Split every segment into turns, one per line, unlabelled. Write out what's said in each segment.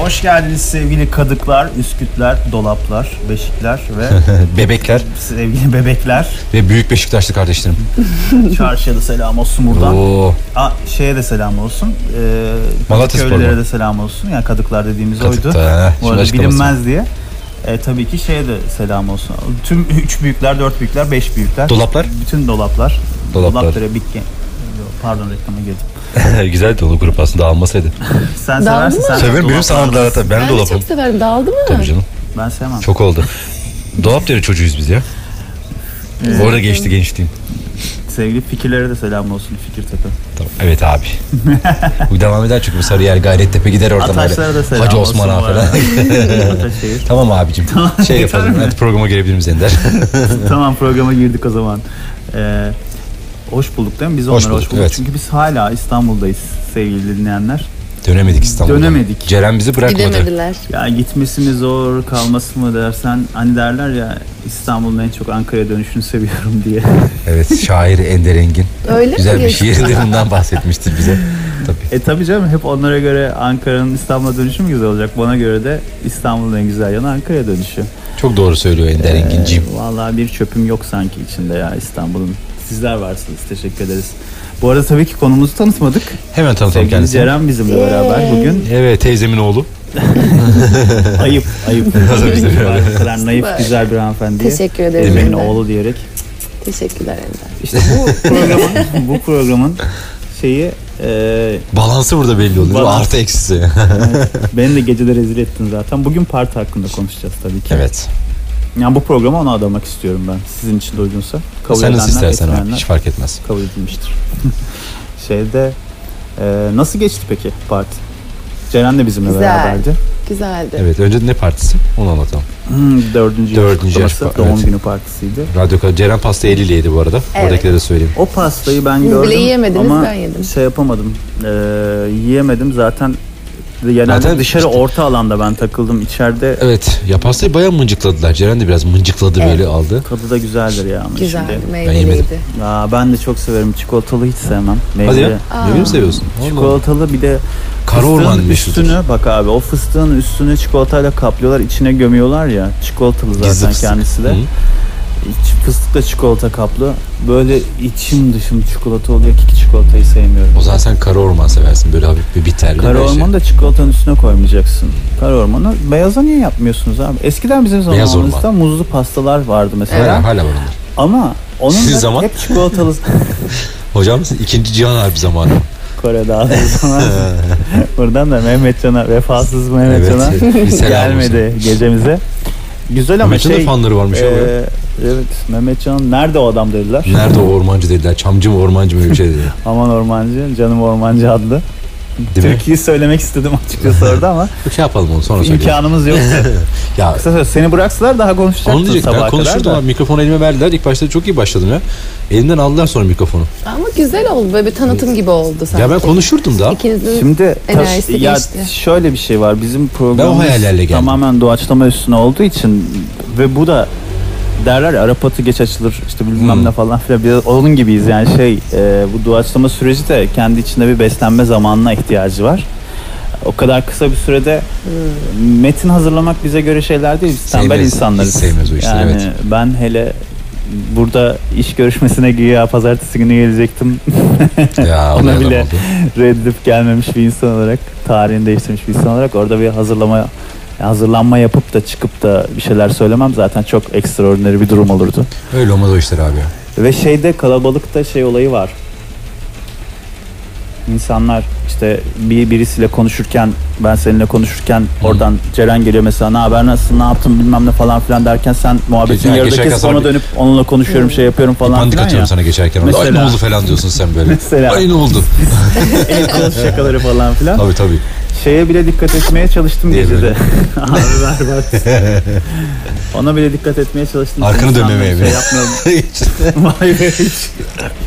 Hoş geldiniz sevgili kadıklar, üskütler, dolaplar, beşikler ve
Bebekler
sevgili bebekler.
ve büyük Beşiktaşlı kardeşlerim.
Çarşıya da selam olsun buradan.
Oo,
Aa, şeye de selam olsun. Ee,
Malatya Spor'la.
köylülere de selam olsun. Yani kadıklar dediğimiz
Katıkta,
oydu.
he,
Bu
şimdi
arada
açıklaması.
bilinmez diye. E, tabii ki şeye de selam olsun. Tüm üç büyükler, dört büyükler, beş büyükler.
Dolaplar.
Bütün dolaplar.
Dolaplar.
Dolaplara bitki. Pardon reklama girdim.
Güzel dolu grup aslında almasaydı.
Sen
Dalga
seversin.
mı?
Sen
Severim benim
dolaplar-
sanatlara tabii. Ben,
Ben de
dolapım.
çok severim. Dağıldı mı?
Tabii canım.
Ben sevmem.
Çok oldu. Dolap deri çocuğuyuz biz ya. Orada geçti gençliğim.
Sevgili fikirlere de selam olsun Fikirtepe.
Tamam. Evet abi. bu devam eder çünkü bu Sarıyer Gayrettepe gider oradan
Ataşlara da
böyle.
selam
Hacı
olsun
Osman Ağa
bu arada.
falan.
Ataşehir.
tamam abicim. Şey yapalım. Hadi programa gelebilir miyiz Ender?
tamam programa girdik o zaman. Ee, hoş bulduk değil mi? Biz
Hoş
onlara hoş bulduk.
bulduk, evet.
Çünkü biz hala İstanbul'dayız sevgili dinleyenler.
Dönemedik İstanbul'a.
Dönemedik.
Ceren bizi bırakmadı.
Gidemediler.
Ya gitmesi mi zor, kalması mı dersen hani derler ya İstanbul'un en çok Ankara'ya dönüşünü seviyorum diye.
Evet şair Ender Engin.
Öyle mi
Güzel bir
geçti?
şiirlerinden bahsetmiştir bize. Tabii.
e tabii canım hep onlara göre Ankara'nın İstanbul'a dönüşü mü güzel olacak? Bana göre de İstanbul'un en güzel yanı Ankara'ya dönüşü.
Çok doğru söylüyor Ender Engin'ciğim.
Ee, Vallahi bir çöpüm yok sanki içinde ya İstanbul'un. Sizler varsınız. Teşekkür ederiz. Bu arada tabii ki konumuzu tanıtmadık.
Hemen tanıtalım
Sevgili
kendisini.
Ceren bizimle beraber bugün.
Evet teyzemin oğlu.
Ayıp, ayıp.
Hazır bize bir
Bu kadar naif,
Süper.
güzel bir hanımefendi.
Teşekkür ederim.
Emin
Ender.
oğlu diyerek.
Teşekkürler Ender.
İşte bu programın, bu programın şeyi e,
Balansı burada belli oluyor.
Balans.
Artı eksisi.
beni de geceleri rezil ettin zaten. Bugün parti hakkında konuşacağız tabii ki.
evet.
Yani bu programı ona adamak istiyorum ben. Sizin için de uygunsa. Kabul
Sen nasıl
edenler,
istersen abi.
etmeyenler
Hiç fark etmez.
kabul edilmiştir. Şeyde e, nasıl geçti peki parti? Ceren de bizimle
Güzel.
beraberdi.
Güzeldi.
Evet önce ne partisi? Onu anlatalım.
Hmm, dördüncü yaş
Dördüncü yaş
kutlaması,
pa-
doğum
evet.
günü partisiydi.
Radyo Kadı- Ceren pasta 50 liydi bu arada.
Evet.
Oradakilere de söyleyeyim.
O pastayı ben
Siz bile
gördüm
yiyemediniz,
ama
ben yedim.
şey yapamadım. Ee, yiyemedim zaten genelde
Zaten
dışarı
işte-
orta alanda ben takıldım. İçeride
Evet. Ya pastayı bayağı mıncıkladılar. Ceren de biraz mıncıkladı
Evet.
böyle aldı.
tadı da güzeldir ya ama
Güzeldi.
şimdi.
Meyveliydi.
Aa, ben de çok severim. Çikolatalı hiç sevmem.
Hadi
Meyveli.
ya. Ne bileyim seviyorsun? Vallahi.
Çikolatalı bir de
Kara orman
fıstığın
meşhudur.
üstünü bak abi o fıstığın üstünü çikolatayla kaplıyorlar içine gömüyorlar ya çikolatalı zaten
Gizli fıstık.
kendisi de
Hı.
İç, fıstıkla çikolata kaplı böyle içim dışım çikolata oluyor ki çikolatayı sevmiyorum.
O zaman sen kara orman seversin. Böyle hafif bir biterli.
Kara
böyle şey.
ormanı da çikolatanın üstüne koymayacaksın. Kara ormanı beyaza niye yapmıyorsunuz abi? Eskiden bizim
Beyaz
zamanımızda muzlu pastalar vardı mesela.
Hala, hala var onlar.
Ama onun
Sizin
da
zaman?
hep çikolatalı
Hocam ikinci Cihan Harbi zamanı.
Kore'de aldığı zaman. Buradan da Mehmetcan'a vefasız Mehmetcan'a
Evet, bir selam
gelmedi gecemize. Güzel ama
Mehmet'in de
şey
fanları varmış ya.
e,
oraya.
evet Mehmetcan nerede o adam dediler.
Nerede o ormancı dediler. Çamcı mı ormancı mı öyle bir şey dediler.
Aman Ormancı, canım Ormancı adlı.
Değil mi?
Türkiye'yi söylemek istedim açıkçası orada ama
Şey yapalım onu sonra söyleyeyim.
imkanımız yoktu.
Ya
Kısa söyle, seni bıraksalar daha
Onu
konuşacaktın
diyecektim. Ben
sabaha kadar
konuşurdum
da.
ama mikrofonu elime verdiler. İlk başta çok iyi başladım ya. Elimden aldılar sonra mikrofonu.
Ama güzel oldu. Böyle bir tanıtım gibi oldu sanki.
Ya ben konuşurdum da.
İkinizin
Şimdi
Enerjisi
tabii- ya
geçti.
şöyle bir şey var. Bizim
Ben o
programımız
hayallerle geldim.
tamamen doğaçlama üstüne olduğu için ve bu da derler ya Arap atı geç açılır işte bilmem
Hmm.
ne falan filan biraz onun gibiyiz yani şey e, bu doğaçlama süreci de kendi içinde bir beslenme zamanına ihtiyacı var. O kadar kısa bir sürede
Hmm.
metin hazırlamak bize göre şeyler değil. Biz tembel
Sevmez,
insanlarız.
hiç sevmez o işleri,
yani
evet.
ben hele burada iş görüşmesine güya pazartesi günü gelecektim.
Ya
Ona
ona
bile-
bile. Oldu.
reddedip gelmemiş bir insan olarak, tarihini değiştirmiş bir insan olarak orada bir hazırlama hazırlanma yapıp da çıkıp da bir şeyler söylemem zaten çok ekstraordinary bir durum olurdu.
Öyle olmaz o işler abi. ya.
Ve şeyde kalabalıkta şey olayı var. İnsanlar işte bir birisiyle konuşurken ben seninle konuşurken oradan Ceren geliyor mesela ne haber nasılsın ne yaptın bilmem ne falan filan derken sen muhabbetin
Geçen-
yarıda
geçen
kesip ona
kazan-
dönüp onunla konuşuyorum şey yapıyorum falan
Pandik
filan ya.
atıyorum sana geçerken. orada. Ay ne
Mesela-
oldu falan diyorsun sen böyle.
Mesela.
Ay ne oldu?
El kol şakaları falan filan.
Tabii tabii.
Şeye bile dikkat etmeye çalıştım
Niye
gecede.
böyle?
Abi berbat. Ona bile dikkat etmeye çalıştım.
Arkanı
İnsanlar
dönmemeye
şey
bile.
yapmıyorum.
hiç
Vay be hiç.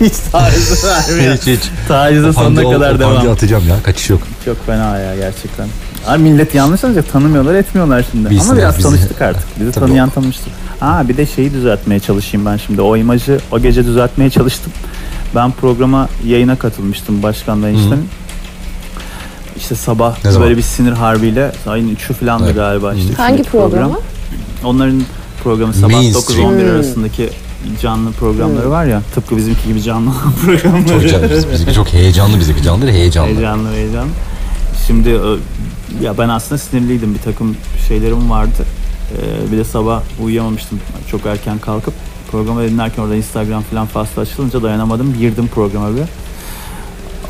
Hiç taciz vermiyor.
hiç hiç.
Tacize
Pandik
sonuna kadar devam.
atacağım ya. Kaçış yok.
Çok fena ya gerçekten. Abi millet yanlış anlayacak tanımıyorlar etmiyorlar şimdi.
Bilsinler
Ama biraz
bizi.
tanıştık artık. Bizi
Tabii
tanıyan tanıştı. Aa bir de şeyi düzeltmeye çalışayım ben şimdi. O imajı o gece düzeltmeye çalıştım. Ben programa yayına katılmıştım başkanla eniştemin. işte sabah
Ne zaman?
böyle bir sinir harbiyle ayın 3'ü falan da
Evet.
galiba işte.
Hangi
üçündeki program.
programı?
Onların programı sabah
Mainstream.
9-11
Hmm.
arasındaki canlı programları var ya tıpkı bizimki gibi canlı programları.
Çok canlı. Biz- Bizimki çok heyecanlı bizimki canlı değil, heyecanlı.
Heyecanlı heyecanlı. Şimdi ö, ya ben aslında sinirliydim bir takım şeylerim vardı. Ee, bir de sabah uyuyamamıştım çok erken kalkıp programı dinlerken orada Instagram falan faslı açılınca dayanamadım girdim programa bir.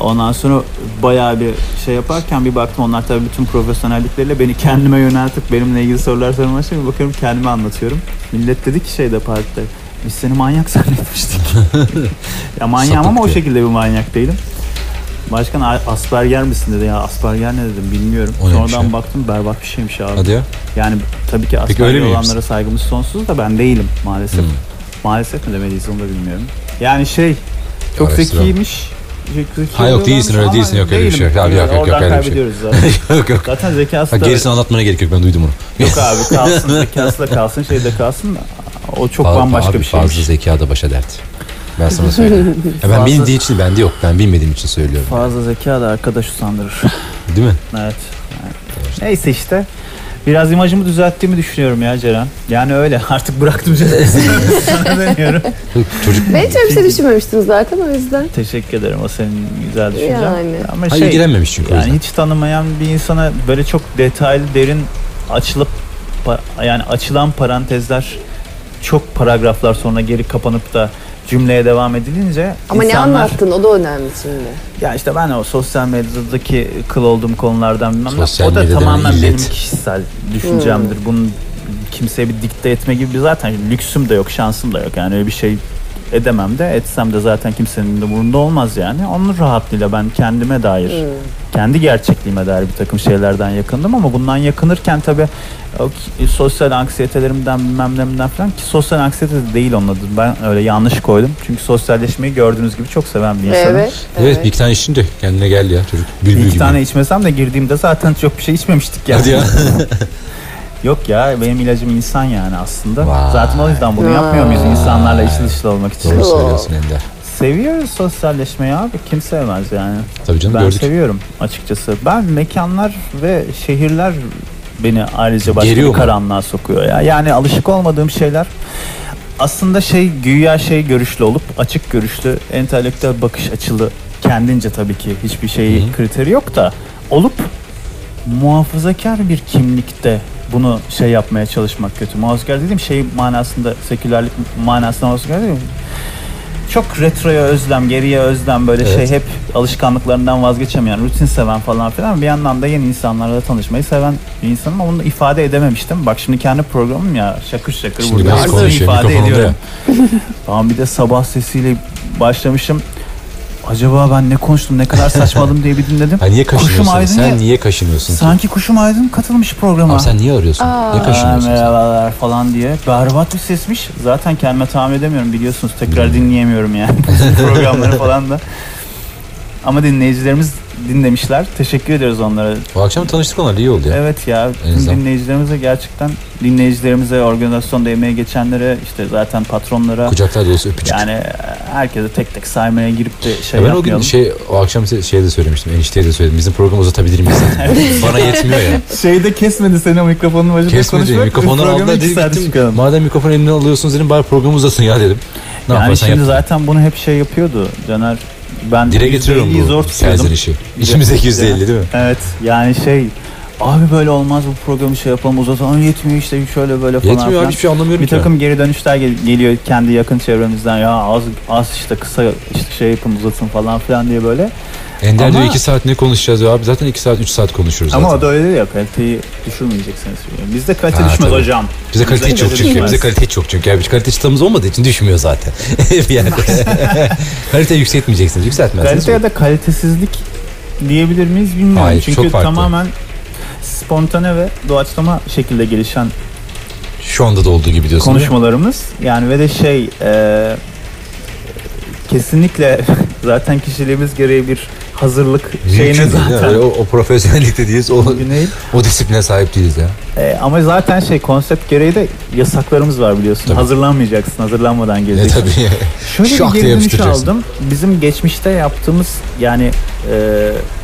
Ondan sonra bayağı bir şey yaparken bir baktım onlar tabii bütün profesyonellikleriyle beni kendime yöneltip benimle ilgili sorular sormaya başlıyor. Bir bakıyorum kendime anlatıyorum. Millet dedi ki şeyde partide biz seni manyak zannetmiştik. ya manyağım ama o
Sapık diye.
şekilde bir manyak değilim. Başkan "A- Asperger misin dedi ya Asperger ne dedim bilmiyorum.
O neymiş
Sonradan
ya?
baktım berbat bir şeymiş abi.
Hadi ya.
Yani tabii ki
Peki
Asperger
öyle Hmm. miyim?
olanlara saygımız sonsuz da ben değilim maalesef. Maalesef mi demeliyiz onu da bilmiyorum. Yani şey çok
Araştıralım.
zekiymiş. Çok zeki
Ha, yok, değilsin, öyle
ama
değilsin, yok, öyle bir şey yok. Abi, yok,
Yani
yok, yok,
Oradan
öyle bir şey.
kaybediyoruz zaten.
yok yok.
Zaten zekası
Ha,
da
gerisini anlatmana gerek yok ben duydum onu.
yok abi kalsın zekası da kalsın şey de kalsın da o çok
Abi,
bambaşka
abi,
bir şey. şeymiş.
Fazla zekada başa dert. Ben sana söyleyeyim. Ya ben
Fazla-
bildiği için bende yok. Ben bilmediğim için söylüyorum.
Fazla zeka da arkadaş usandırır.
Değil mi?
Evet. Neyse işte. Biraz imajımı düzelttiğimi düşünüyorum ya Ceren. Yani öyle artık bıraktım Ceren. Sana dönüyorum.
Çocuk
Ben hiç öyle bir şey düşünmemiştim zaten o yüzden.
Teşekkür ederim o senin güzel düşüncen.
Yani.
Ama
ha,
şey
ilgilenmemiş çünkü o
yani
yüzden.
hiç tanımayan bir insana böyle çok detaylı derin açılıp pa- yani açılan parantezler çok paragraflar sonra geri kapanıp da cümleye devam edilince
Ama ne
insanlar-
anlattın o da önemli şimdi.
Ya işte ben o sosyal medyadaki kıl olduğum konulardan bilmem ne.
Sosyal
O da
medya
tamamen
denen
benim
illet.
kişisel düşüncemdir.
Hmm.
Bunu kimseye bir dikte etme gibi bir zaten lüksüm de yok, şansım da yok. Yani öyle bir şey edemem de etsem de zaten kimsenin de umurunda olmaz yani. Onun rahatlığıyla ben kendime dair,
Hmm.
kendi gerçekliğime dair bir takım şeylerden yakındım ama bundan yakınırken tabii o ki- sosyal anksiyetelerimden bilmem nemden falan ki sosyal anksiyete de değil onun adı. Ben öyle yanlış koydum. Çünkü sosyalleşmeyi gördüğünüz gibi çok seven bir insanım.
Evet.
Evet, bir iki tane içince kendine geldi ya çocuk. Bülbül
İki
gibi.
tane içmesem de girdiğimde zaten çok bir şey içmemiştik yani.
Hadi ya.
Yok ya benim ilacım insan yani aslında.
Vay.
Zaten o yüzden bunu yapmıyor muyuz
Vay.
insanlarla içli dışlı olmak için?
Doğru söylüyorsun Ender.
Seviyoruz sosyalleşmeyi abi kim sevmez yani.
Tabii canım
ben
gördük.
seviyorum açıkçası. Ben mekanlar ve şehirler beni ayrıca başka
Geriyor
bir
mu?
karanlığa sokuyor ya. Yani alışık olmadığım şeyler aslında şey güya şey görüşlü olup açık görüşlü entelektüel bakış açılı kendince tabii ki hiçbir şey
Hı hı.
kriteri yok da olup muhafazakar bir kimlikte bunu şey yapmaya çalışmak kötü. Muhafazakar dediğim şey manasında sekülerlik manasında muhafazakar değil mi? Çok retroya özlem, geriye özlem böyle
Evet.
şey hep alışkanlıklarından vazgeçemeyen, rutin seven falan filan. Bir yandan da yeni insanlarla tanışmayı seven bir insanım ama bunu ifade edememiştim. Bak şimdi kendi programım ya şakır şakır
Şimdi
burada
ben
her şeyi
konuşuyor
ifade
mikrofonda ya.
ediyorum. Tamam bir de sabah sesiyle başlamışım. Acaba ben ne konuştum, ne kadar saçmaladım diye bir dinledim.
Ha, niye
Kuşum
kaşınıyorsun?
aydın
Sen
ya.
niye kaşınıyorsun? ki?
Sanki kuşum aydın katılmış programa.
Abi sen niye arıyorsun?
Aa.
niye
Aa,
kaşınıyorsun? sen?
merhabalar falan diye. Berbat bir sesmiş. Zaten kendime tahmin edemiyorum biliyorsunuz.
Hmm.
Tekrar dinleyemiyorum yani bu programları falan da. Ama dinleyicilerimiz dinlemişler. Teşekkür ediyoruz onlara.
O akşam tanıştık onlarla iyi oldu ya.
Evet ya
En
tüm
azından.
dinleyicilerimize gerçekten dinleyicilerimize, organizasyonda emeği geçenlere, işte zaten patronlara
Kucaklar dolusu öpücük.
yani e, herkese tek tek saymaya girip de şey
Ya ben o gün
yapmayalım.
şey o akşam size şey de söylemiştim. Enişteye de söyledim. Bizim programı uzatabilir miyiz? zaten? Bana yetmiyor ya.
Şeyde kesmedi seni o mikrofonun başında
şey- Kesmedi.
konuşmak.
Mikrofonları
Programı
aldılar
iki
dedi
saate
gittim.
çıkaralım.
Madem mikrofonu eline alıyorsunuz dedim bari programı uzasın ya dedim. Ne
yani
yaparsan
şimdi
yap.
zaten bunu hep şey yapıyordu Caner. Ben
Dile getiriyorum
%50'yi
bu
zor tutuyordum.
serzenişi. İçimizdeki yüzde elli değil mi?
Evet yani şey abi böyle olmaz bu programı şey yapalım uzatalım yetmiyor işte şöyle böyle falan.
Yetmiyor abi
filan.
hiçbir şey anlamıyorum
Bir
ki. ben.
takım geri dönüşler gel- geliyor kendi yakın çevremizden ya az az işte kısa işte şey yapın uzatın falan filan diye böyle.
Ender
Ama-
diyor iki saat ne konuşacağız diyor abi zaten iki saat üç saat konuşuruz
Ama o
zaten.
da öyle ya kaliteyi düşürmeyeceksiniz. Bizde kalite
Ha,
düşmez
tabii.
hocam.
Bize kalite hiç yok çünkü.
düşmez.
Bize kalite hiç yok çünkü. Abi. Hiç kalite çıtamız olmadığı için düşmüyor zaten. bir yerde. kalite yükseltmeyeceksiniz. Yükseltmezsiniz.
Kalite ya da kalitesizlik diyebilir miyiz bilmiyorum.
Hayır,
Çünkü
çok farklı.
tamamen spontane ve doğaçlama şekilde gelişen
Şu anda da olduğu gibi diyorsun. değil mi?
konuşmalarımız. Yani ve de şey e, kesinlikle zaten kişiliğimiz gereği bir hazırlık şeyine
Mümkün değil, değil mi?
zaten
Öyle o, o profesyonellikte değiliz. O,
mümkün değil.
o disipline sahip değiliz ya.
E, ama zaten şey konsept gereği de yasaklarımız var biliyorsun.
Tabii.
Hazırlanmayacaksın, hazırlanmadan
E
geleceksin.
tabii.
Şöyle
Şak
bir
diye
geri dönüş
yapıştıracaksın.
aldım. Bizim geçmişte yaptığımız yani e,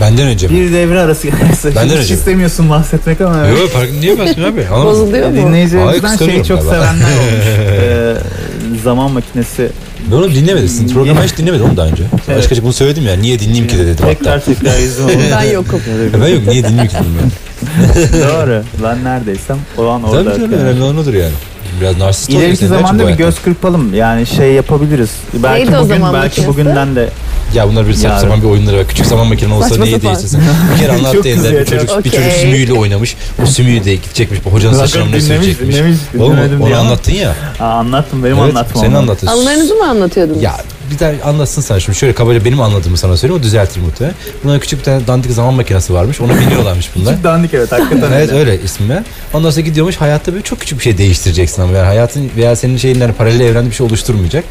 Benden önce mi?
Bir devre arası gelirse.
Benden
Hiç
önce mi?
istemiyorsun bahsetmek ama evet.
Yok farkında niye basmıyor abi? Anlamadım.
Bozuluyor mu?
Hayır,
Dinleyicilerimizden şeyi
kıskanıyorum
çok
galiba.
sevenler olmuş. Ee, zaman makinesi
Ben onu dinlemedim. Sizin programı hiç dinlemedim onu daha önce.
Evet.
Açık açık bunu söyledim ya. Niye dinleyeyim ki de dedim hatta. E
tekrar tekrar izin oldu.
Ben yokum.
Ben yok niye dinleyeyim ki dedim ya.
Doğru. Ben neredeysem o an orada.
Tabii canım şey. önemli olan odur yani. Biraz narsist oluyor.
İleriki zamanda bir göz kırpalım. Yani şey yapabiliriz. Belki
Neydi o
bugün,
zaman
belki
makinesi?
bugünden de
Ya bunlar bir saçma
Yarın.
sapan bir oyunları var. Küçük zaman makinen olsa
Saçma
neyi
sapan.
değiştirsin? Bir kere
Çok
anlattı Ender. Bir
güzel.
çocuk, bir çocuk
Okey.
sümüğüyle oynamış. O sümüğü de gidecekmiş. Hocanın saçlarını ne
dinlemiş,
sürecekmiş.
dinlemiş,
Oğlum
dinlemedim diye
onu
ama-
anlattın ya.
Aa, anlattım benim
Evet,
anlatmam.
Senin anlattın.
Anılarınızı mı anlatıyordunuz?
Ya bir tane anlatsın sen şimdi. Şöyle kabaca benim anladığımı sana söyleyeyim. O düzeltir muhtemelen. Bunların küçük bir tane dandik zaman makinesi varmış. Ona biniyorlarmış bunlar.
Çok dandik evet hakikaten
Evet
öyle.
öyle ismi. Ondan sonra gidiyormuş hayatta böyle çok küçük bir şey değiştireceksin ama yani hayatın veya senin şeyinler paralel evrende bir şey oluşturmayacak.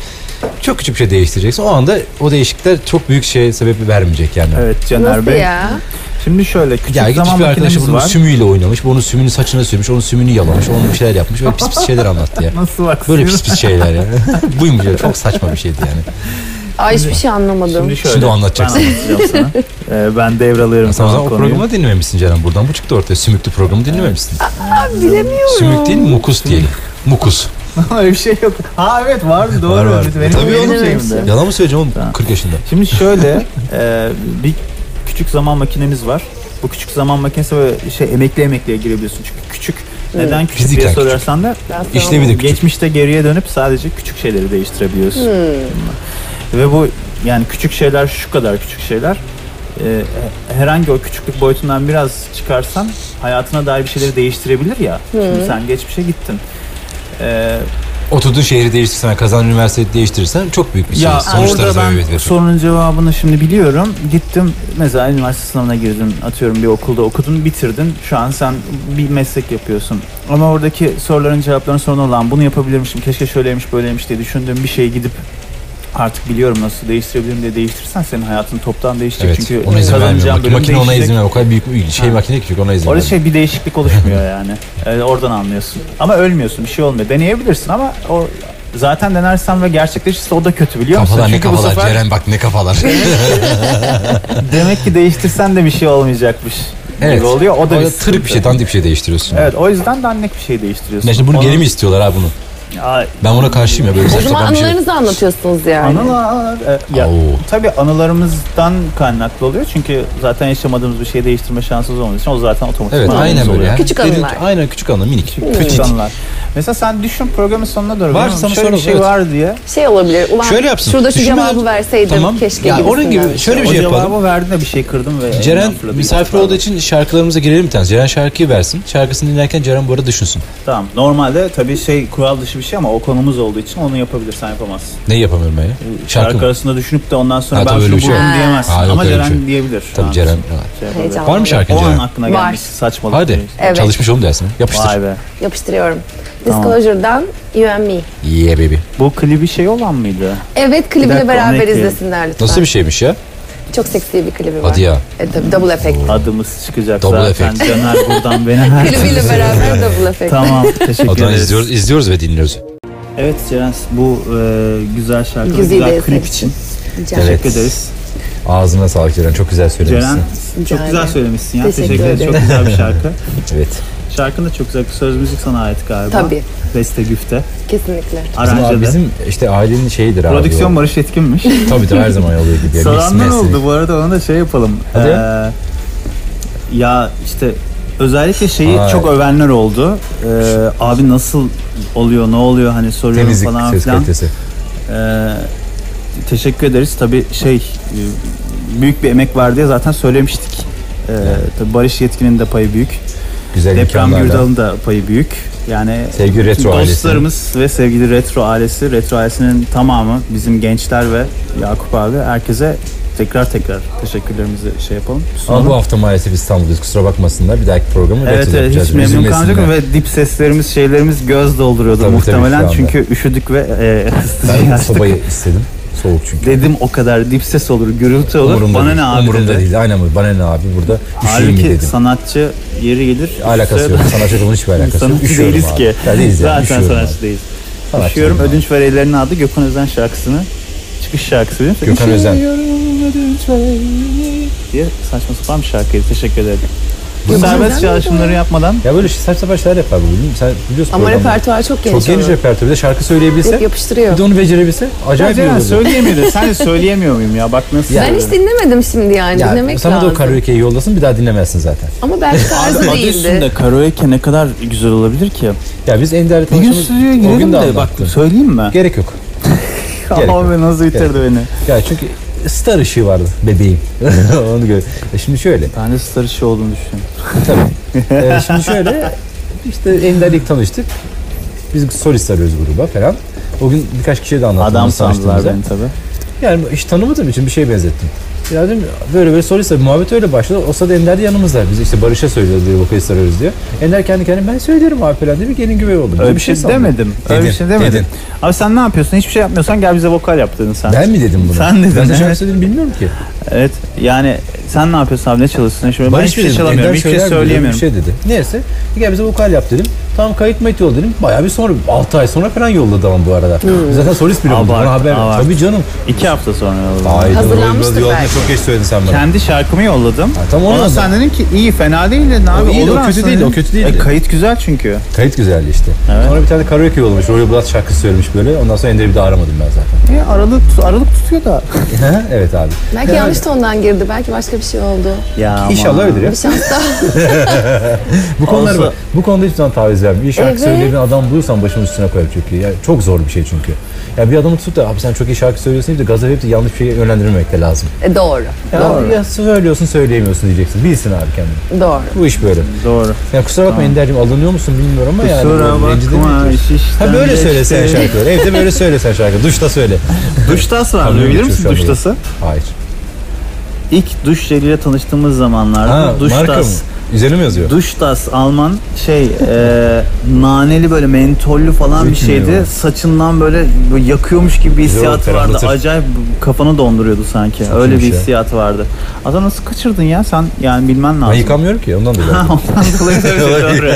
Çok küçük bir şey değiştireceksin. O anda o değişiklikler çok büyük şey sebebi vermeyecek yani.
Evet Caner
Nasıl
Bey.
ya?
Şimdi şöyle küçük
Ya gitmiş
zaman
bir arkadaşı
makinemiz
bunun
var.
sümüğüyle oynamış. Bunun sümüğünü saçına sürmüş. Onun sümüğünü yalamış. Onun bir şeyler yapmış. Böyle pis pis şeyler anlattı ya.
Nasıl bak?
Böyle pis pis şeyler yani. Buymuş ya. Çok saçma bir şeydi yani.
Ay hiçbir şey anlamadım.
Şimdi şöyle.
Şimdi o anlatacaksın.
Ben anlatacağım sana. Ee, ben devralıyorum
Sen o
sana
zaman o
konuyu.
programı dinlememişsin Ceren. Buradan bu çıktı ortaya. Sümüklü programı dinlememişsin.
Abi bilemiyorum.
Sümük değil mukus diyelim. Mukus.
Öyle bir şey yok. Ha evet vardı doğru.
Var, var.
Benim
Tabii
benim
oğlum.
şeyimde.
Yalan mı söyleyeceğim oğlum?
Tamam.
40 yaşında.
Şimdi şöyle e, bir küçük zaman makinemiz var. Bu küçük zaman makinesi böyle şey emekli emekliye girebiliyorsun. Çünkü küçük neden küçük
Fiziken
diye
küçük.
sorarsan da
Ben sana-
İşlevi de küçük.
geçmişte geriye dönüp sadece küçük şeyleri değiştirebiliyorsun.
Hmm.
Ve bu yani küçük şeyler şu kadar küçük şeyler. E, herhangi o küçüklük boyutundan biraz çıkarsan hayatına dair bir şeyleri değiştirebilir ya. Şimdi sen geçmişe gittin. E,
Oturduğun şehri değiştirsen, kazan üniversiteyi değiştirirsen çok büyük bir şey.
Ya
Sonuçlara
orada
sebebiyet
ben
verir.
sorunun cevabını şimdi biliyorum. Gittim mesela üniversite sınavına girdin atıyorum bir okulda okudun bitirdin. Şu an sen bir meslek yapıyorsun. Ama oradaki soruların cevaplarının sonra olan bunu yapabilirmişim keşke şöyleymiş böyleymiş diye düşündüğün bir şeye gidip artık biliyorum nasıl değiştirebilirim diye değiştirirsen senin hayatın toptan değişecek.
Evet,
Çünkü
ona izin vermiyor.
kazanacağın
Makine,
bölüm
makine ona
değişecek.
izin vermiyor. O kadar büyük bir şey
Ha.
makine ki çünkü ona izin
Orada
vermiyor.
şey bir değişiklik oluşmuyor yani. Ee, oradan anlıyorsun. Ama ölmüyorsun, bir şey olmuyor. Deneyebilirsin ama o zaten denersen ve gerçekleşirse o da kötü biliyor musun?
Kafalar ne
Çünkü bu
kafalar
sefer
Ceren bak ne kafalar.
Demek ki değiştirsen de bir şey olmayacakmış
Evet.
gibi oluyor. O da
Orada
bir
tırık bir şey,
sıkıntı.
dandik bir şey değiştiriyorsun.
Evet o yüzden dandik bir şey değiştiriyorsun.
Ya şimdi bunu
Onun-
geri mi istiyorlar abi bunu?
Aa,
Ben buna karşıyım ya böyle
O
saçma
zaman
sapan bir şey.
anılarınızı anlatıyorsunuz yani.
Anılar. e, ya,
Oo.
tabii anılarımızdan kaynaklı oluyor. Çünkü zaten yaşamadığımız bir şeyi değiştirme şansımız olmadığı için o zaten otomatik
Evet aynen böyle.
oluyor.
ya.
Küçük
Dediğin-
anılar.
Aynen küçük anılar minik.
Küçük
Petit.
anılar. Mesela sen düşün programın sonuna doğru.
Var,
Bilmiyorum,
sana
şöyle bir
soralım,
şey
evet.
var diye.
Şey olabilir. Ulan
Şöyle yapsın.
şurada şu
Düşünmeden-
cevabı verseydim
Tamam.
keşke
Ya
gibisinden.
onun gibi şöyle bir
o
şey yapalım.
cevabı verdin de bir şey kırdım ve
Ceren
elimden fırladı.
misafir olduğu için şarkılarımıza girelim bir tane. Ceren şarkıyı versin. Şarkısını dinlerken Ceren bu arada düşünsün.
Tamam. Normalde tabii şey kural dışı bir şey ama o konumuz olduğu için onu yapabilirsen yapamazsın.
Neyi yapamıyorum ben ya?
şarkı,
Şarkı mı?
arasında düşünüp de ondan sonra
Ha,
ben
tabii
şunu
öyle bir şey
buldum
yok.
diyemezsin.
Ha, yok
Ama
öyle bir
Ceren
şey.
diyebilir. şu
Tabii
an.
Ceren.
Şey yapabilir.
Heyecanlı.
Var mı şarkı
O an
Ceren?
aklına
Var.
gelmiş saçmalık.
Hadi.
diye.
Evet.
Çalışmış oğlum dersin. Yapıştır.
Vay be.
Yapıştırıyorum.
Tamam.
Disclosure'dan You and Me.
Yeah baby.
Bu klibi şey olan mıydı?
Evet
Bir dakika,
klibiyle
onu
beraber
ekleyelim.
izlesinler lütfen.
Nasıl bir şey? şeymiş ya?
Çok seksi bir klibi var.
Hadi ya.
E, tabii, double effect.
Adımız çıkacak
Double
zaten.
Effect.
Caner buradan beni her
Klibiyle beraber double effect.
Tamam teşekkür
Adana
ederiz.
izliyoruz, izliyoruz ve dinliyoruz.
Evet Ceren bu e, güzel şarkı
Güzide
güzel
eser
klip için.
Rica
Evet.
ederim.
Teşekkür ederiz.
Ağzına sağlık Ceren. Çok güzel
Ceren
söylemişsin.
çok
Rica
güzel
ederim.
söylemişsin ya.
Teşekkür
Teşekkür ederiz. Çok güzel bir şarkı.
Evet.
Şarkının da çok güzel. Söz müzik sana ait galiba.
Tabii.
Beste güfte.
Kesinlikle.
Bizim, abi,
Aranjede.
bizim işte ailenin şeyidir abi.
Prodüksiyon
o.
Barış Etkin'miş.
Tabii tabii her zaman oluyor gibi.
Salandan
Mix, mix.
oldu bu arada ona da şey yapalım.
Hadi.
Ee, ya işte özellikle şeyi
Ay.
çok övenler oldu. Ee, abi nasıl oluyor ne oluyor hani soruyorum
Temizlik
falan
ses
filan.
kalitesi.
Ee, teşekkür ederiz. Tabii şey e, büyük bir emek var diye zaten söylemiştik. Ee, tabii Barış Yetkin'in de payı büyük.
Güzel
Deprem
imkanlarla.
Gürdal'ın da payı büyük. Yani
Sevgili retro ailesi.
Dostlarımız ve sevgili retro ailesi, retro ailesinin tamamı bizim gençler ve Yakup abi herkese tekrar tekrar teşekkürlerimizi şey yapalım.
Ama
sunalım.
bu hafta maalesef İstanbul'dayız. Kusura bakmasınlar. Bir dahaki programı
Evet,
retro
evet
yapacağız.
hiç memnun
Üzülmesinler.
kalmayacak ve dip seslerimiz şeylerimiz göz dolduruyordu
Tabii, tabii,
muhtemelen
şu anda.
çünkü üşüdük ve e, ısıtıcıyı
Ben
açtık.
sobayı istedim. Soğuk çünkü.
Dedim o kadar dip ses olur, gürültü olur.
Umurumda
Bana
değil.
ne abi
Umurumda
dedi.
değil. Aynen bu. Bana ne abi burada üşüyeyim mi
Halbuki
dedim.
sanatçı yeri gelir.
Alakası yok. Sanatçı bunun hiçbir alakası yok.
Sanatçı
Üşüyorum
değiliz
abi.
ki.
Ya değiliz yani,
Zaten
üşüyorum
sanatçı
abi.
değiliz.
Sanatçı
Üşüyorum
değilim abi.
Ödünç Vereyler'in adı Gökhan Özen şarkısını. Çıkış şarkısı değil mi?
Gökhan Özen.
Üşüyorum diye saçma sapan bir şarkıydı. Teşekkür ederim.
Bu
Bu
neden
serbest
oldu?
çalışımları yapmadan
Ya böyle şey- saçma sapan şeyler yapar bu. bilmiyorum. Sen biliyorsun
Ama
programı.
repertuar çok geniş.
Çok geniş
onun.
repertuar. Bir de şarkı söyleyebilse.
Hep yapıştırıyor.
Bir de onu becerebilse. Acayip
Acayip
bir
ya Ceren
olur.
söyleyemiyordu. Sen de söyleyemiyor muyum ya? Bak nasıl.
Ya.
Ben hiç dinlemedim şimdi yani.
Ya,
Dinlemek
sana da o
lazım.
karaoke'yi yollasın bir daha dinlemezsin zaten.
Ama belki tarzı
Adı
değildi.
üstünde karaoke ne kadar güzel olabilir ki?
Ya biz en değerli
Bir gün
tanışımız
stüdyoya
o gün
girelim
de
de bak
anlattı.
söyleyeyim mi?
Gerek yok. gerek yok.
Abi nasıl bitirdi beni?
Ya çünkü star ışığı vardı bebeğim. Onu gör. E şimdi şöyle.
Ben de star işi olduğunu düşünüyorum.
e, şimdi şöyle işte Ender'le ilk tanıştık. Biz solist arıyoruz gruba falan. O gün birkaç kişiye de anlattım.
Adam
nasıl
sandılar
tanıştığımızı.
beni tabii.
Yani hiç tanımadığım için bir şey benzettim. Ya dedim böyle böyle solist arıyor. Muhabbet öyle başladı. O sırada Ender de yanımızda. Biz işte Barış'a söylüyoruz diye vokalist arıyoruz diyor. Ender kendi kendine ben söylerim abi falan diye bir gelin güvey oldu. Bize
Öyle bir şey
sandı.
demedim. Öyle bir
Dedin,
şey demedim.
dedin.
Abi sen ne yapıyorsun? Hiçbir şey yapmıyorsan gel bize vokal yap dedin sen.
Ben mi dedim bunu?
Sen dedin,
Ben de şarkı
evet.
söylediğimi bilmiyorum ki.
Evet. Yani sen ne yapıyorsun abi? Ne çalışıyorsun? Şimdi ben hiçbir şey
dedim,
çalamıyorum.
Ender
Hiçbir şey
söyler mi dedi,
söyleyemiyorum.
Bir şey dedi. Neyse. Gel bize vokal yap dedim. Tamam kayıt mı ol dedim. Bayağı bir sonra 6 ay sonra falan yolladı ama bu arada.
Hmm.
Zaten solist bile oldu.
Abart,
Ona haber
abart.
Tabii canım.
İki hafta sonra yolladım.
Hazırlanmıştır
Yolda- yolda
belki.
Çok geç söyledin sen bana.
Kendi şarkımı yolladım.
Ha, tam onu
Ona
anladım.
sen dedin ki iyi fena değil dedin abi.
O iyi
olur
de, o kötü
aslında
değil,
dedin.
o kötü değil
E,
dedi.
kayıt güzel çünkü.
Kayıt güzeldi işte.
Evet.
Sonra bir tane karaoke yollamış. Royal Blood şarkısı söylemiş böyle. Ondan sonra Ender'i bir daha aramadım ben zaten.
E, aralık, aralık tutuyor da.
evet abi.
Belki
Yani-
yanlış tondan girdi. Belki başka bir şey oldu.
Ya
İnşallah öyledir ya.
Bir şans daha.
Bu konular
Olsa-
bak. Bu konuda hiçbir zaman taviz vermiyorum. Bir şarkı
Evet.
söyleyen adam bulursam başımın üstüne koyarım çünkü. Ya çok zor bir şey çünkü. Ya bir adamı tutup da abi sen çok iyi şarkı söylüyorsun diye de gaza verip de yanlış bir şeye yönlendirmemek de lazım.
E, doğru.
Ya,
Doğru.
ya söylüyorsun söyleyemiyorsun diyeceksin. Bilsin abi kendini.
Doğru.
Bu iş böyle.
Doğru.
Ya kusura bakma Ender'cim alınıyor musun bilmiyorum ama yani.
Kusura
böyle rencide mi
bakma
ediyorsun?
iş işten
Ha böyle
geçti.
söylesen şarkıları. Evde böyle söylesen şarkı. Duşta söyle.
Duştası var
Tabii,
bilir misin
şu an iyi.
duştası?
Hayır.
İlk duş jeliyle tanıştığımız zamanlarda
Ha, marka mı?
duştas.
Üzerine mi yazıyor?
Duştas Alman şey e, naneli böyle mentollü falan bir
Zeytinyağı
şeydi.
var.
Saçından böyle, böyle yakıyormuş gibi bir
Güzel
hissiyatı
olur,
vardı.
ferahlatır.
Acayip kafanı donduruyordu sanki.
Çok
Öyle bir
iyiymiş ya.
hissiyatı vardı. Adam nasıl kaçırdın ya sen yani bilmen
Ben
lazım.
yıkamıyorum ki ondan dolayı.
Ha, Ondan dolayı şey tabii
Olabilir.
doğru.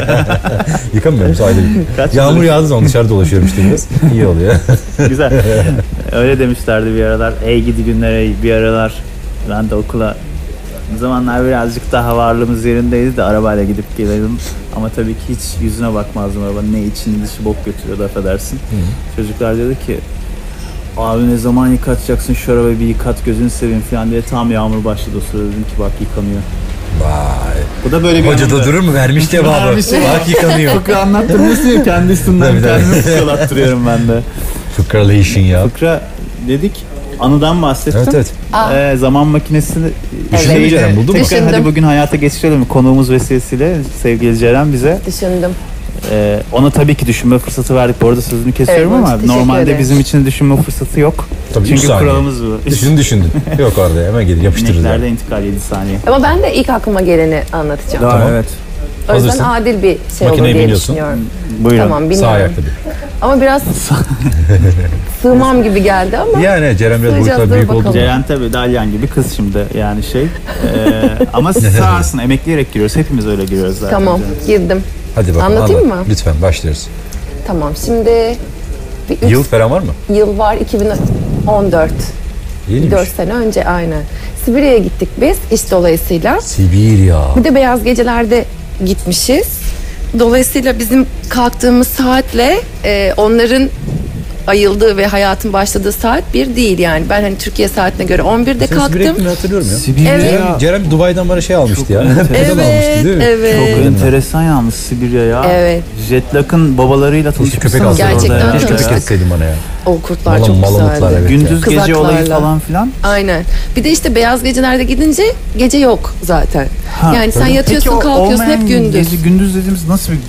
yıkamıyorum sadece.
Kaç
Yağmur
yıldır-
yağdığı zaman dışarı dolaşıyorum işte biraz. İyi oluyor.
Güzel. Öyle demişlerdi bir aralar. Ey gidi günler ey bir aralar. Ben de okula o zamanlar birazcık daha varlığımız yerindeydi de arabayla gidip gelirdim. Ama tabii ki hiç yüzüne bakmazdım araba. Ne içini dışı bok götürüyordu affedersin. Çocuklar dedi ki Abi ne zaman yıkatacaksın şu arabayı bir yıkat gözünü seveyim falan diye tam yağmur başladı o sırada dedim ki bak yıkanıyor.
Vay.
Bu da böyle bir
Hoca da
anıydı.
durur mu? Vermiş cevabı.
Vermiş cevabı.
Bak yıkanıyor.
Fıkra anlattırması ya kendi üstünden
Tabii, tabii.
kendimi fıkralattırıyorum ben de.
Fıkralı işin ya.
Fıkra dedik anıdan bahsettim.
Evet evet.
Aa.
Ee, zaman makinesini
Evet. Düşündün mü Ceren, buldun mu?
Tekrar
Düşündüm.
Hadi bugün hayata geçirelim. Konuğumuz vesilesiyle sevgili Ceren bize.
Düşündüm.
e, ona tabii ki düşünme fırsatı verdik. Bu arada sözünü kesiyorum
Evet,
ama
teşekkür
normalde
ederim.
bizim için düşünme fırsatı yok.
Tabii üç
Çünkü
saniye.
kuralımız bu.
Düşündün düşündün. Yok orada hemen gelir yapıştırırız. yani.
İneklerde intikal 7 saniye.
Ama ben de ilk aklıma geleni anlatacağım.
Tamam.
evet.
o yüzden
hazırsın.
adil bir şey olur
Makineye
diye
biniyorsun.
düşünüyorum.
Buyurun.
Tamam
Sağ
bilmiyorum.
ayakta bir.
Ama biraz sığmam gibi geldi ama
Yani Ceren biraz
Sığacağız,
boyutlar
dur
büyük oldu.
bakalım.
Ceren tabii Dalyan gibi kız şimdi yani şey. E, ama sağ olsun emekleyerek giriyoruz. Hepimiz öyle giriyoruz zaten.
tamam girdim.
Hadi bakalım.
Anlatayım
anlat.
mı?
Lütfen başlıyoruz.
Tamam şimdi bir üç
Yıl falan var mı?
yıl var 2014.
Yeniymiş.
4 sene önce aynen. Sibirya'ya gittik biz iş dolayısıyla.
şey. Sibirya.
Bir de beyaz gecelerde gitmişiz. Dolayısıyla bizim kalktığımız saatle e, onların ayıldığı ve hayatın başladığı saat bir değil yani. Ben hani Türkiye saatine göre
Sen
11'de
Sibirya
kalktım.
gittiğini hatırlıyorum ya.
Sibirya.
Evet.
Ceren, Ceren Dubai'den bana şey almıştı ya.
Evet,
Pezadan almıştı değil mi?
evet.
Çok enteresan yalnız Sibirya ya.
Ee, Evet.
Jetlak'ın babalarıyla
Keşke köpek
tanışmışsınız
alsaydım.
Gerçekten
orada ya.
Keşke köpek
tanıştık.
etseydin bana ya.
O kurtlar
Malam-
çok
malamutlar,
güzeldi.
evet.
Gündüz gece olayı
Kızaklarla.
falan filan.
Aynen. Bir de işte beyaz gecelerde gidince gece yok zaten. yani sen yatıyorsun
Peki o
kalkıyorsun
olmayan
hep gündüz.
Gece, gündüz dediğimiz nasıl bir